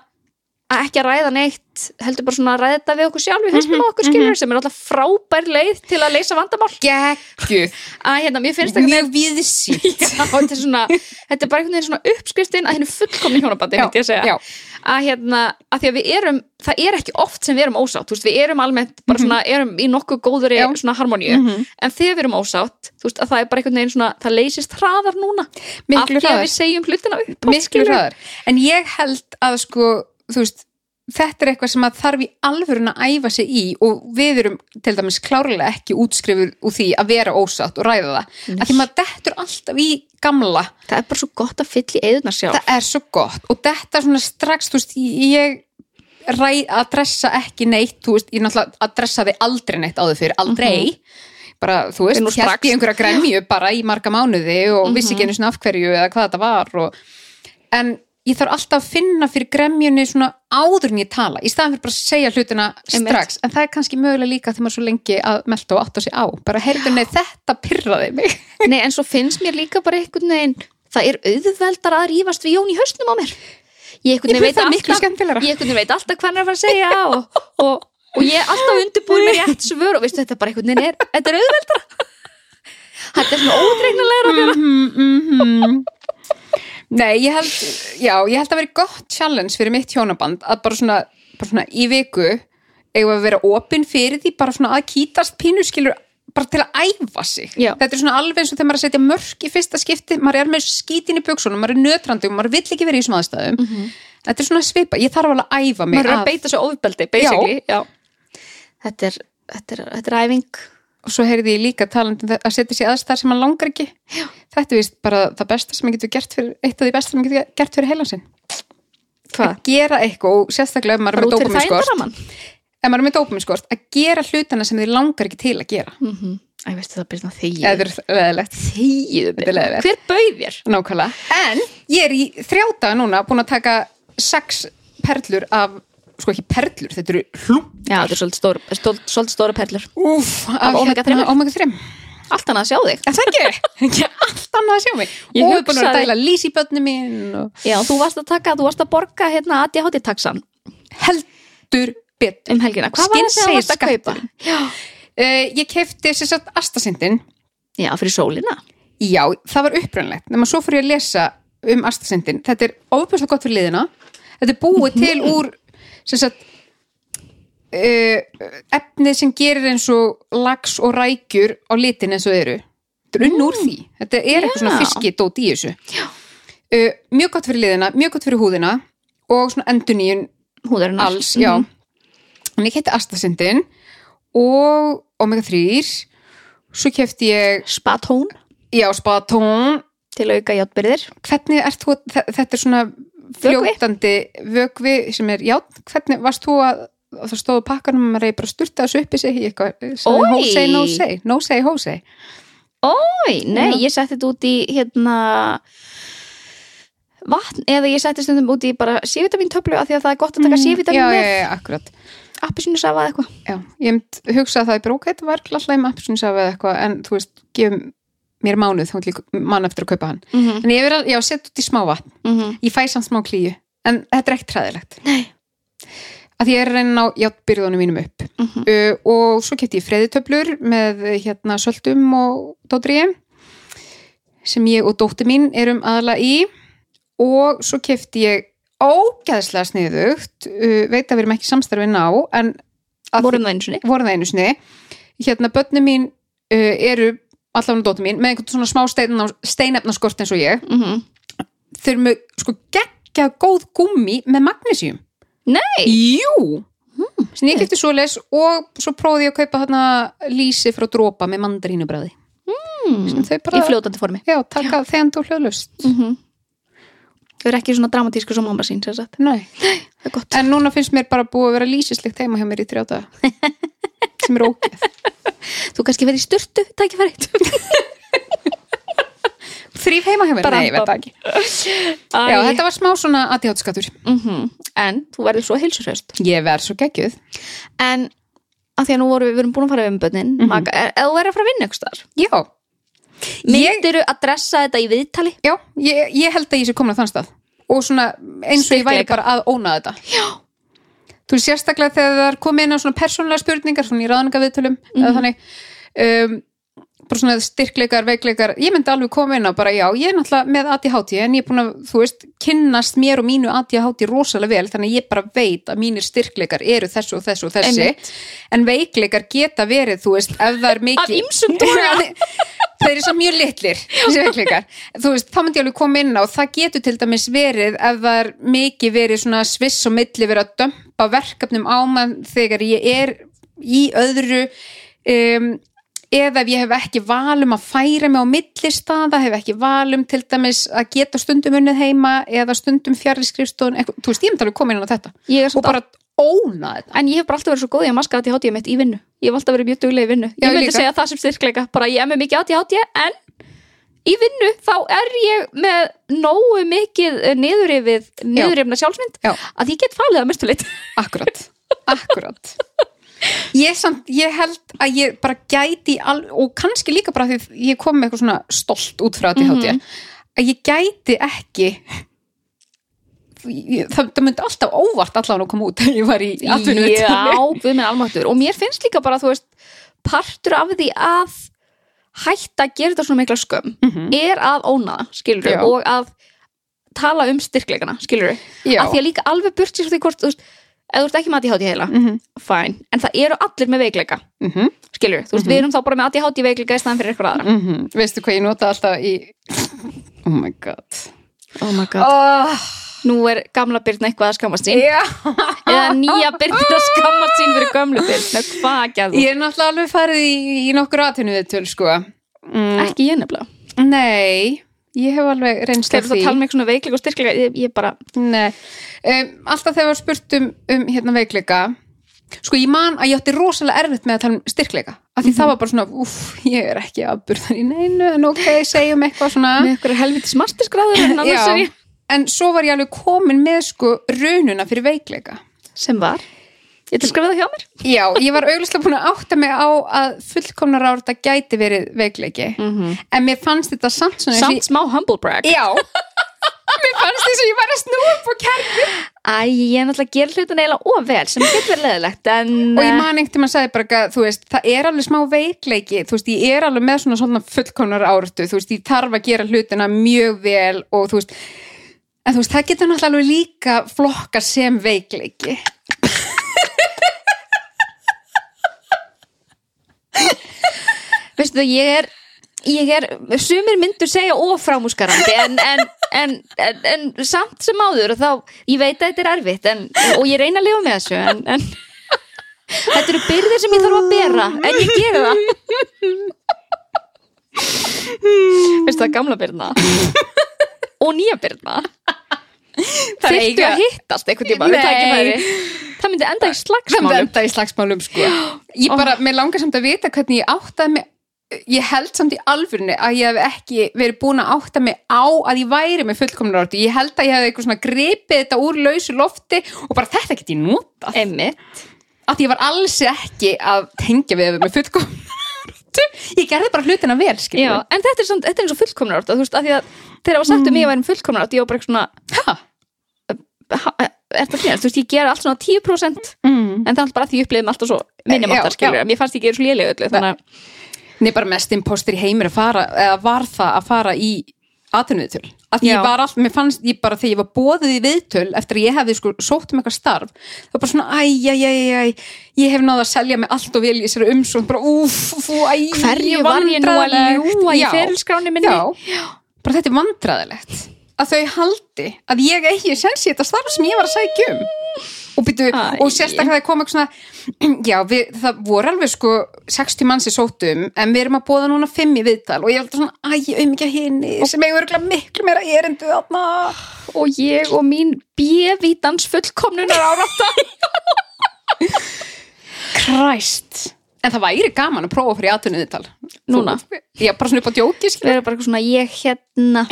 S1: að ekki að ræða neitt heldur bara svona að ræða þetta við okkur sjálf við haustum á
S3: Mhm,
S1: okkur skilur sem er alltaf frábær leið til að leysa vandamál
S3: Gekku.
S1: að hérna, mér finnst ekki
S3: Mjög viðsýn.
S1: Já, þetta, er svona, þetta er bara einhvern veginn svona uppskriftin að hennu fullkomni hjónabandi, myndi ég að segja
S3: Já,
S1: að hérna, að því að við erum það er ekki oft sem við erum ósátt, þú veist, við erum almennt bara svona, erum í nokkuð góðri
S3: Mhm. Já. Mhm.
S1: svona harmoníu, en þegar við erum ósátt þú veist, að það er bara einhvern veginn svona, það leysist hraðar núna, af
S3: miklu
S1: því að við
S3: hraðar.
S1: segjum hlutina upp
S3: Miklu hraðar. En ég held að sko, þú veist, þetta er eitthvað sem að þarf í alvörun að æfa sig í og við erum til dæmis klárlega ekki útskrifuð úr því að vera ósatt og ræða það.
S1: Nei.
S3: Af því maður dettur alltaf í gamla.
S1: það er bara svo gott að fylla í eðuna sjálf
S3: Það er svo gott og þetta svona strax, þú veist, ég ræð, adressa ekki neitt, þú veist, ég náttúrulega adressaði aldrei neitt áður fyrir, aldrei bara, þú veist,
S1: En Mhm. nú
S3: hélt
S1: strax. Mhm.
S3: í einhverja gremju bara í marga mánuði og vissi ekki einu svona af hverju eða hvað þetta var og... en ég þarf alltaf að finna fyrir gremjunni svona áður en ég tala í staðan fyrir bara að segja hlutina
S1: Einmitt.
S3: strax en það er kannski mögulega líka þegar maður er svo lengi að melta og átta sig á, bara heyrðu nei þetta pyrraði mig
S1: Nei, en svo finnst mér líka bara einhvern veginn það er auðveldar að rífast við Jón í hausnum á mér ég einhvern
S3: Ég
S1: veginn
S3: veit
S1: veit
S3: það miklu
S1: alltaf
S3: skemmtilegra.
S1: ég einhvern veginn veit alltaf hvað hann er að fara að segja og, og, og ég er alltaf undirbúin með rétt svör og veistu þetta er bara einhvern veginn er þetta er auðveldar þetta er svona ódreignilegra að gera
S3: Mhm. Nei, ég held, já, ég held að vera gott challenge fyrir mitt hjónaband að bara svona, bara svona í viku eigum við að vera opinn fyrir því bara svona að kýtast pínuskilur bara til að æfa sig.
S1: Já.
S3: Þetta er svona alveg eins og þegar maður er að setja mörk í fyrsta skipti, maður er með skítin í buksunum, maður er nötrandi og maður vill ekki vera í svona aðstæðum. Þetta er svona svipa, ég þarf alveg að æfa
S1: Mhm.
S3: mig
S1: maður er
S3: að-
S1: að beita svo ofbeldi basically já. Þetta, er, þetta, er, þetta er æfing
S3: og svo heyrði ég líka talandi um það- að setja sér aðstæðar sem maður langar ekki. Já. Þetta er vist bara það besta sem maður getur gert fyrir, eitt af því besta sem maður getur gert fyrir heilansinn.
S1: hvað?
S3: Að gera eitthvað og sérstaklega ef maður er
S1: bara
S3: með sko.
S1: út fyrir
S3: dópuminskort.
S1: þægindaraman
S3: ef maður er með dópuminskort, að gera hlutana sem þið langar ekki til að gera
S1: mm -hmm. Æ, veistu það byrja
S3: eða
S1: þegið
S3: þið eru leðilegt
S1: Þegið
S3: Þetta er leiðilegt.
S1: Hver bauð þér?
S3: nákvæmlega, en ég er í þrjáta núna búin að taka sex perlur af, sko ekki perlur þetta eru hlú
S1: Já, þetta er svolítið stóra, stól, svolítið stóra perlur
S3: Úf, af hérna
S1: omega þremur.
S3: omega 3
S1: Allt annað að sjá þig
S3: en það ekki, ekki allt annað að sjá mig
S1: Ég
S3: og búin að vera að
S1: hugsaði-
S3: dæla lís í börnum mín og
S1: Já, þú varst að taka, þú varst að borga hérna ADHD-taxan
S3: heldur betur
S1: um helgina Hvað var þetta að
S3: Skinnsegir
S1: varst að kaupa?
S3: skatturinn.
S1: Já.
S3: uh, ég kefti sér satt astasindin
S1: Já, fyrir sólina
S3: Já, það var upprönnlegt nema svo fór ég að lesa um astasindin þetta er óbjörslega gott fyrir liðina þetta er búið til úr sem sagt uh, efnið sem gerir eins og lax og rækjur á litin eins og þeir eru þetta er unn úr því þetta er eitthvað svona
S1: Já.
S3: fiski dót í þessu uh, mjög gott fyrir liðina, mjög gott fyrir húðina og svona enduníun
S1: Húðarinn
S3: alls, já
S1: Mhm.
S3: en ég kætti astasindin og omega 3 svo kefti ég
S1: Spatón
S3: já, spatón
S1: til að auka játbyrðir
S3: hvernig ert þú, þe- þetta er svona fljótandi vögvi sem er, já, hvernig varst þú að og það stóðu pakkanum að maður reyði bara að sturta þessu upp í sig í eitthvað, sagði
S1: Oj.
S3: hósei, no say no say, hósei
S1: Ói, nei, ég setti þetta út í hérna vatn eða ég setti stundum út í bara C-vitamin töflu af því að það er gott að taka
S3: já,
S1: C-vitamin
S3: Mm, já,
S1: með
S3: já, akkurat
S1: appisínusafa eða eitthvað
S3: já, ég mynd hugsa að það er bara ok, þetta var alltaf í mappisunsafi eða eitthvað, en þú veist gefum mér mánuð, þá ætlum ég mann eftir að kaupa hann
S1: mm -hmm.
S3: en ég verið að, já, sett út í smá vatn
S1: Mhm.
S3: ég fæ samt smá klíu, en þetta er ekkert træðilegt
S1: Nei.
S3: að ég er að reyna á játbyrðunum mínum upp
S1: Mhm.
S3: uh, og svo kefti ég freðitöflur með uh, hérna söldum og dóttriði sem ég og dóttir mín erum aðla í og svo kefti ég ógeðslega sniðugt uh, veit að við erum ekki samstarfið ná en að-
S1: Vorum það einu sinni
S3: voru það einu sinni hérna börnum mín uh, eru allan dóttir mín með einhvern svona smá stein, steinefnaskort eins og ég
S1: mm
S3: þau eru með sko geggja góð gummi með magnesíum
S1: Nei.
S3: Jú sem ég kefti svoleiðis og svo prófði ég að kaupa hana lýsi frá dropa með mandarínubræði sem
S1: Mhm.
S3: þau
S1: Í
S3: bara,
S1: fljótandi formi
S3: já, taka þegar þú hljóðlust
S1: mm Þau eru ekki svona dramatísku sem mamma sín sem sagt.
S3: Nei.
S1: Það er gott
S3: en núna finnst mér bara búið að vera lýsislikt heima hjá mér í þrjáta sem er ógeð
S1: Þú kannski verið í styrtu, tækifærið
S3: þrýf heima hjá mér,
S1: Bara
S3: nei, ég veit það ekki já, þetta var smá svona aðhjótskattur
S1: Mhm. En þú verður svo heilsurhöst
S3: ég verð svo geggjuð
S1: En að því að nú vorum við, við erum búin að fara við um bönnin mm -hmm. Eða þú verður að fara að vinna ykkur staðar
S3: já, ég,
S1: Myndirðu að dressa þetta í viðtali?
S3: já, ég, ég held að ég sé komin á þann stað og svona eins og ég væri
S1: Styrkleika.
S3: bara að óna þetta já þú veist sérstaklega þegar það er komið inn á svona persónulega spurningar svona í ráðningaviðtölum eða
S1: Mhm.
S3: þannig um, bara svona styrkleikar, veikleikar ég myndi alveg koma inn á bara já, ég er náttúrulega með ADHD en ég er búin að, þú veist, kynnast mér og mínu ADHD rosalega vel þannig að ég bara veit að mínir styrkleikar eru þessu og þessu og þessi
S1: Einmitt.
S3: en veikleikar geta verið, þú veist, ef það er mikið
S1: ýmsum toga.
S3: þeir eru svo mjög litlir þessi veikleikar, þú veist, þá myndi ég alveg koma inn á það getur til dæmis verið ef það er mikið verið svona sviss og milli verið að dömpa verkefnum á mann þegar ég er í öðru um, eða ef ég hef ekki valum að færa mig á milli staða, hef ekki valum til dæmis að geta stundum unnið heima eða stundum fjarliskrifstofun eitthvað, þú veist, ég myndi alveg koma inn á þetta
S1: Ég er
S3: og
S1: samt
S3: bara óna þetta
S1: En ég hef bara alltaf verið svo góð í að maska ADHD mitt í vinnu. Ég hef alltaf verið mjög duglega í vinnu.
S3: Já,
S1: ég myndi
S3: líka.
S1: segja það sem styrkleika, bara ég er með mikið ADHD en í vinnu þá er ég með nógu mikið niðurifið, niðurifna sjálfsmynd
S3: Já.
S1: að ég get falið að mestu leitt.
S3: Akkurat, akkurat Ég, samt, ég held að ég bara gæti al, og kannski líka bara því ég kom með eitthvað svona stolt út frá ADHD að ég gæti ekki Ég- það, það myndi alltaf óvart allan að koma út að ég var í atvinnuvitali
S1: Já, við minn almáttur og mér finnst líka bara, þú veist partur af því að hætta að gera þetta svona mikla skömm
S3: Mhm.
S1: er að óna, skilur
S3: Já.
S1: og að tala um styrkleikana, skilur
S3: Já.
S1: að því að líka alveg burt sér frá því hvort, þú veist ef þú ert ekki með ADHD heila,
S3: Mhm.
S1: fæn en það eru allir með veikleika,
S3: Mhm,
S1: skilur þú veist, við erum þá bara með ADHD veikleika í staðan fyrir eitthvað aðra
S3: mhm. veistu hvað ég nota alltaf í oh my god
S1: oh my god,
S3: oh,
S1: nú er gamla byrna eitthvað að skammast sín
S3: já.
S1: eða nýja byrna að skammast sín fyrir gömlu byrna, hvað að gera
S3: ég er náttúrulega alveg farið í, í nokkur atvinnuvitali sko mm,
S1: ekki ég nefnilega
S3: nei ég hef alveg reynst
S1: Þegar þú ert að tala með eitthvað svona veikleika og styrkleika ég, ég bara,
S3: Nei, um, alltaf þegar var spurt um, um hérna veikleika sko ég man að ég átti rosalega erfitt með að tala um styrkleika af
S1: Mhm.
S3: því það var bara svona, uff, ég er ekki afburðar í neinu en ok, segjum eitthvað svona
S1: með eitthvað helviti smartisgráður en hérna annars er
S3: Já,
S1: ég
S3: en svo var ég alveg komin með sko rununa fyrir veikleika
S1: sem var, ég ætla að skrifa það hjá mér
S3: Já, ég var auglustlega búin að átta mig á að fullkomnar ára þetta gæti verið veikleiki
S1: Mhm.
S3: en mér fannst þetta samt svona eins og
S1: samt smá humble brag
S3: ég, Já, mér fannst þess að ég var að snúa upp á kerfi
S1: Æ, ég er náttúrulega að gera hlutin eiginlega of vel sem getur verið leðilegt en
S3: og ég man einhvern tímann sagði bara að þú veist, það er alveg smá veikleiki þú veist, ég er alveg með svona svona fullkomnar áratu þú veist, ég þarf að gera hlutina mjög vel og þú veist en þú veist, það getur náttúrulega alveg líka flokka sem veikleiki
S1: eh, veistu það, ég er ég er, sumir myndur segja of framúskarandi en, en, en, en, en samt sem áður og þá, ég veit að þetta er erfitt en, og ég reyna að lifa með þessu en, en þetta eru byrðir sem ég þarf að bera en ég gera það veistu það, gamla byrna og nýja byrna
S3: Það
S1: þurftu
S3: eiga-
S1: að hittast einhvern tíma við
S3: Nei.
S1: tækifæri. það myndi enda í
S3: það
S1: slagsmálum Oh.
S3: er enda í slagsmálum sko ég bara, mér langar samt að vita hvernig ég áttaði mig ég held samt í alvörinu að ég hef ekki verið búin að átta mig á að ég væri með fullkomnar áratu ég held að ég hefði eitthvað svona gripið þetta úr lausu lofti og bara þetta get ég notað
S1: Einmitt.
S3: að ég var alls ekki að tengja við með fullkomnar ég gerði bara hlutina vel
S1: Já,
S3: skilur
S1: en þetta er, samt, þetta er eins og fullkomnar átt þú veist, af því að þegar það var sagt um mig að væri fullkomnar átt ég var bara eitthvað svona
S3: Ha?
S1: ha, er það fyrir, þú veist, ég gera allt svona 10%
S3: mm.
S1: en það er alltaf bara að því ég upplifði mig alltaf svo
S3: Já,
S1: minnumáttar, skilur,
S3: já.
S1: mér fannst ég gera svo lélega öllu þannig að,
S3: Nei, bara mest impostur í heimir að fara eða var það að fara í atvinnuviðtöl að
S1: Já.
S3: ég var alltaf, mér fannst ég bara þegar ég var bóðið í viðtöl eftir að ég hefði sko sótt um eitthvað starf það var bara svona, æ, æ, æ, æ, æ ég hef náða að selja mig allt og vel í þessari umsókn bara úf, úf, æ,
S1: hverju var ég nú að
S3: vandræðalegt."
S1: ljúa í
S3: Já.
S1: ferilskráni minni
S3: Já, bara þetta er vandræðilegt að þau haldi að ég eigi sens í þetta starf sem ég var að sækja um og, byrju,
S1: Æ.
S3: og sérstaklega það kom eitthvað svona já, við, það voru alveg sko 60 manns í sótum en við erum að bóða núna 5 í viðtal og ég er alltaf svona, æ, ég auðmikja henni sem eigur örgulega miklu meira erindu þarna
S1: og ég og mín bjöfítans fullkomnunar áratta
S3: Kræst en það væri gaman að prófa fyrir aðtunni viðtal
S1: Núna?
S3: Þú- já, bara svona upp á djóki, skilur.
S1: við erum bara eitthvað svona, ég hérna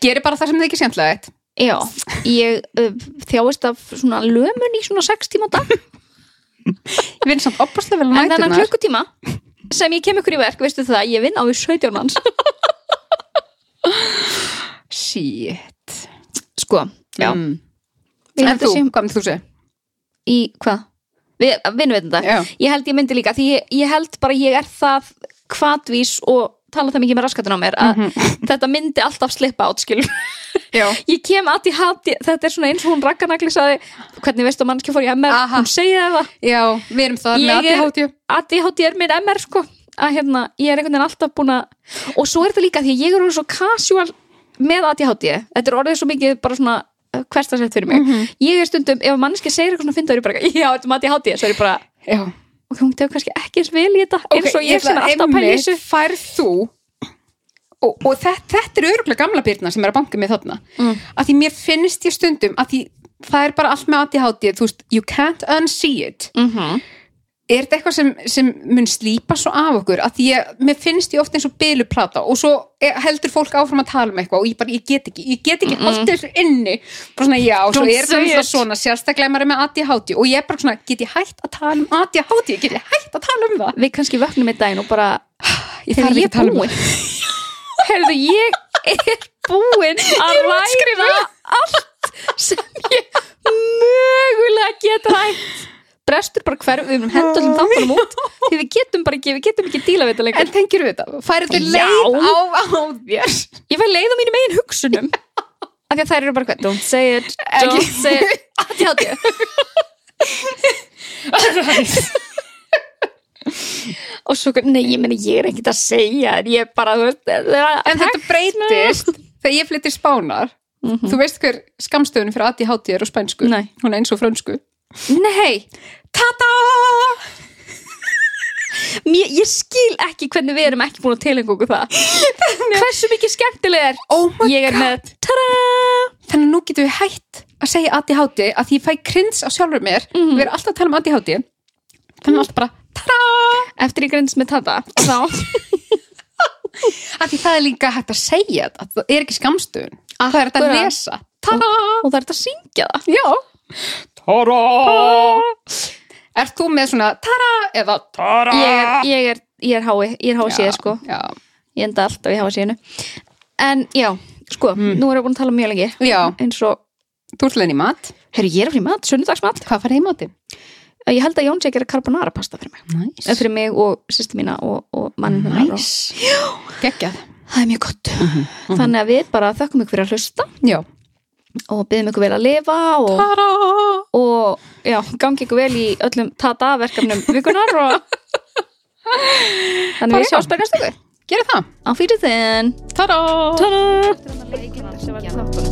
S3: gerir bara það sem þið ekki skemmtilega eitt
S1: já, ég uh, þjáist af svona lömun í svona 6 tíma á dag
S3: ég vinn samt opaslega vel á
S1: en þennan
S3: nætunar
S1: klukkutíma sem ég kem ykkur í verk, veistu það, ég vinn á því 17 manns
S3: shit
S1: sko, já
S3: Mm.
S1: Ég
S3: En
S1: held að
S3: þú,
S1: sé-
S3: hvað myndir þú segja?
S1: í hvað? Við, vinnum við þetta?
S3: Já.
S1: Ég held ég myndi líka, því ég, ég held bara ég er það hvatvís og tala það mikið með raskatun á mér að
S3: Mhm.
S1: þetta myndi alltaf slippa át, skilur.
S3: Já.
S1: Ég kem að ég hati, þetta er svona eins og hún rakkanagli sagði, hvernig veistu að mannskja fór í MR,
S3: Aha.
S1: hún segi það það.
S3: við erum það
S1: Ég
S3: með
S1: er-
S3: ADHD.
S1: ADHD er minn MR, sko, að hérna, ég er einhvern veginn alltaf búin að, og svo er þetta líka því að ég er orðið svo casual með ADHD, þetta er orðið svo mikið bara svona hverstasett fyrir mig.
S3: Mhm.
S1: Ég er stundum, ef mannski segir eitthvað svona fyndar, ég bara, já, þetta er ADHD, svo er ég bara,
S3: Já.
S1: ok, hún tegur kannski ekki eins vel í þetta eins og ég sem er alltaf að pæla í þessu
S3: Færð þú, og, og þetta, þetta er örgulega gamla byrna sem er að banka með þarna, mm. að því mér finnst ég stundum að því það er bara allt með ADHD, þú veist, you can't unsee it.
S1: Mhm.
S3: Er þetta eitthvað sem, sem mun slípa svo af okkur? Að því ég, mér finnst ég ofta eins og byluplata og svo er- heldur fólk áfram að tala um eitthvað og ég bara, ég get ekki, ég get ekki mm þessu inni. Bara svona, já, svo
S1: Don't
S3: er þetta
S1: say
S3: náttúrulega
S1: it.
S3: svona, sérstaklega ef maður er með ADHD og ég er bara svona, get ég hætt að tala um ADHD? Get ég hætt að tala um það?
S1: við kannski vöknum í daginn og bara
S3: Ég
S1: þegar
S3: þarf ekki
S1: ég
S3: að tala um
S1: búin herðu ég er búin að ræða allt sem ég mögulega get rætt brestur bara hverfum, við erum hendur allir þáttunum út því við getum bara ekki, við getum ekki díla við þetta lengur
S3: En tengir við þetta, færið þið
S1: Já.
S3: leið á, á þér
S1: ég fæ leið á mínum eigin hugsunum af því að þær eru bara hvað don't say it, don't
S3: Ekki.
S1: say it aðjátti og svo, nei, ég meina ég er ekkert að segja en ég er sko. bara, þú veist
S3: En þetta breytist þegar ég flytti spánar Þú veist hver skamstöðun fyrir aði hátíðar og spænsku
S1: Nei.
S3: Hún er eins og frönsku
S1: nei,
S3: Tada!
S1: mér, ég skil ekki hvernig við erum ekki búin að tilengu okkur það hversu mikið skemmtileg er
S3: Oh my
S1: ég er með, tada
S3: Þannig að nú getum við hætt að segja aði háti að því ég fæ krins á sjálfur mér
S1: Mhm.
S3: Við erum alltaf að tala um aði háti Þannig alltaf bara tada!
S1: eftir ég grindist með tada þá,
S3: Af því það er líka hægt að segja þetta Það er ekki skamstöðun Það er hægt að
S1: Akkurat.
S3: lesa Tada!
S1: og það er þetta að syngja það
S3: Já Tada! Ert þú með svona tada eða tada?
S1: ég er, ég er, ég er hái, ég er hái síða sko
S3: Ah. Já,
S1: ég enda alltaf í hái síðinu en já, sko, nú erum við búin að tala mjög lengi
S3: Hmm. já.
S1: eins og,
S3: þú ert leiðin í mat
S1: herru, ég er að fara í mat, sunnudagsmat Eh,
S3: Hvað farið í matinn?
S1: ég held að Jóns ég gera carbonara pasta fyrir mig
S3: Næs
S1: Eh, fyrir mig og sýstu mína og, og mann hennar og,
S3: Geggjað
S1: það er mjög gott
S3: Mhm,
S1: þannig að við bara þökkum ykkur fyrir að hlusta
S3: Já
S1: og byggjum ykkur vel að lifa og,
S3: Tada
S1: og já, gangi ykkur vel í öllum tata verkefnum vikunar og þannig við
S3: Bara já.
S1: sjáum spennast ykkur
S3: Gerið það
S1: á fyrir þinn
S3: Tada
S1: Tada!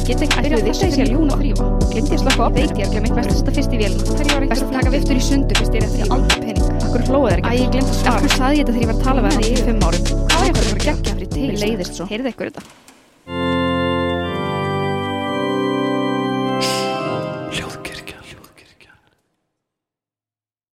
S2: Get ekki byrjað þess að segja ljóna þrýfa. Glendi ég slokka á Veiki er glemt best að setja fyrst í vélina. Hverju var best að taka viftur í sundu fyrst ég er að þrýfa? Aldrei pening. Akkur hlóðu þeir ekki? Æ, ég glemt að svara. Akkur saði ég þetta þegar ég var að tala við það í fimm árum? Hvað er ég að fara að gegja fyrir tegist? Leiðist svo. Heyrðu ykkur þetta?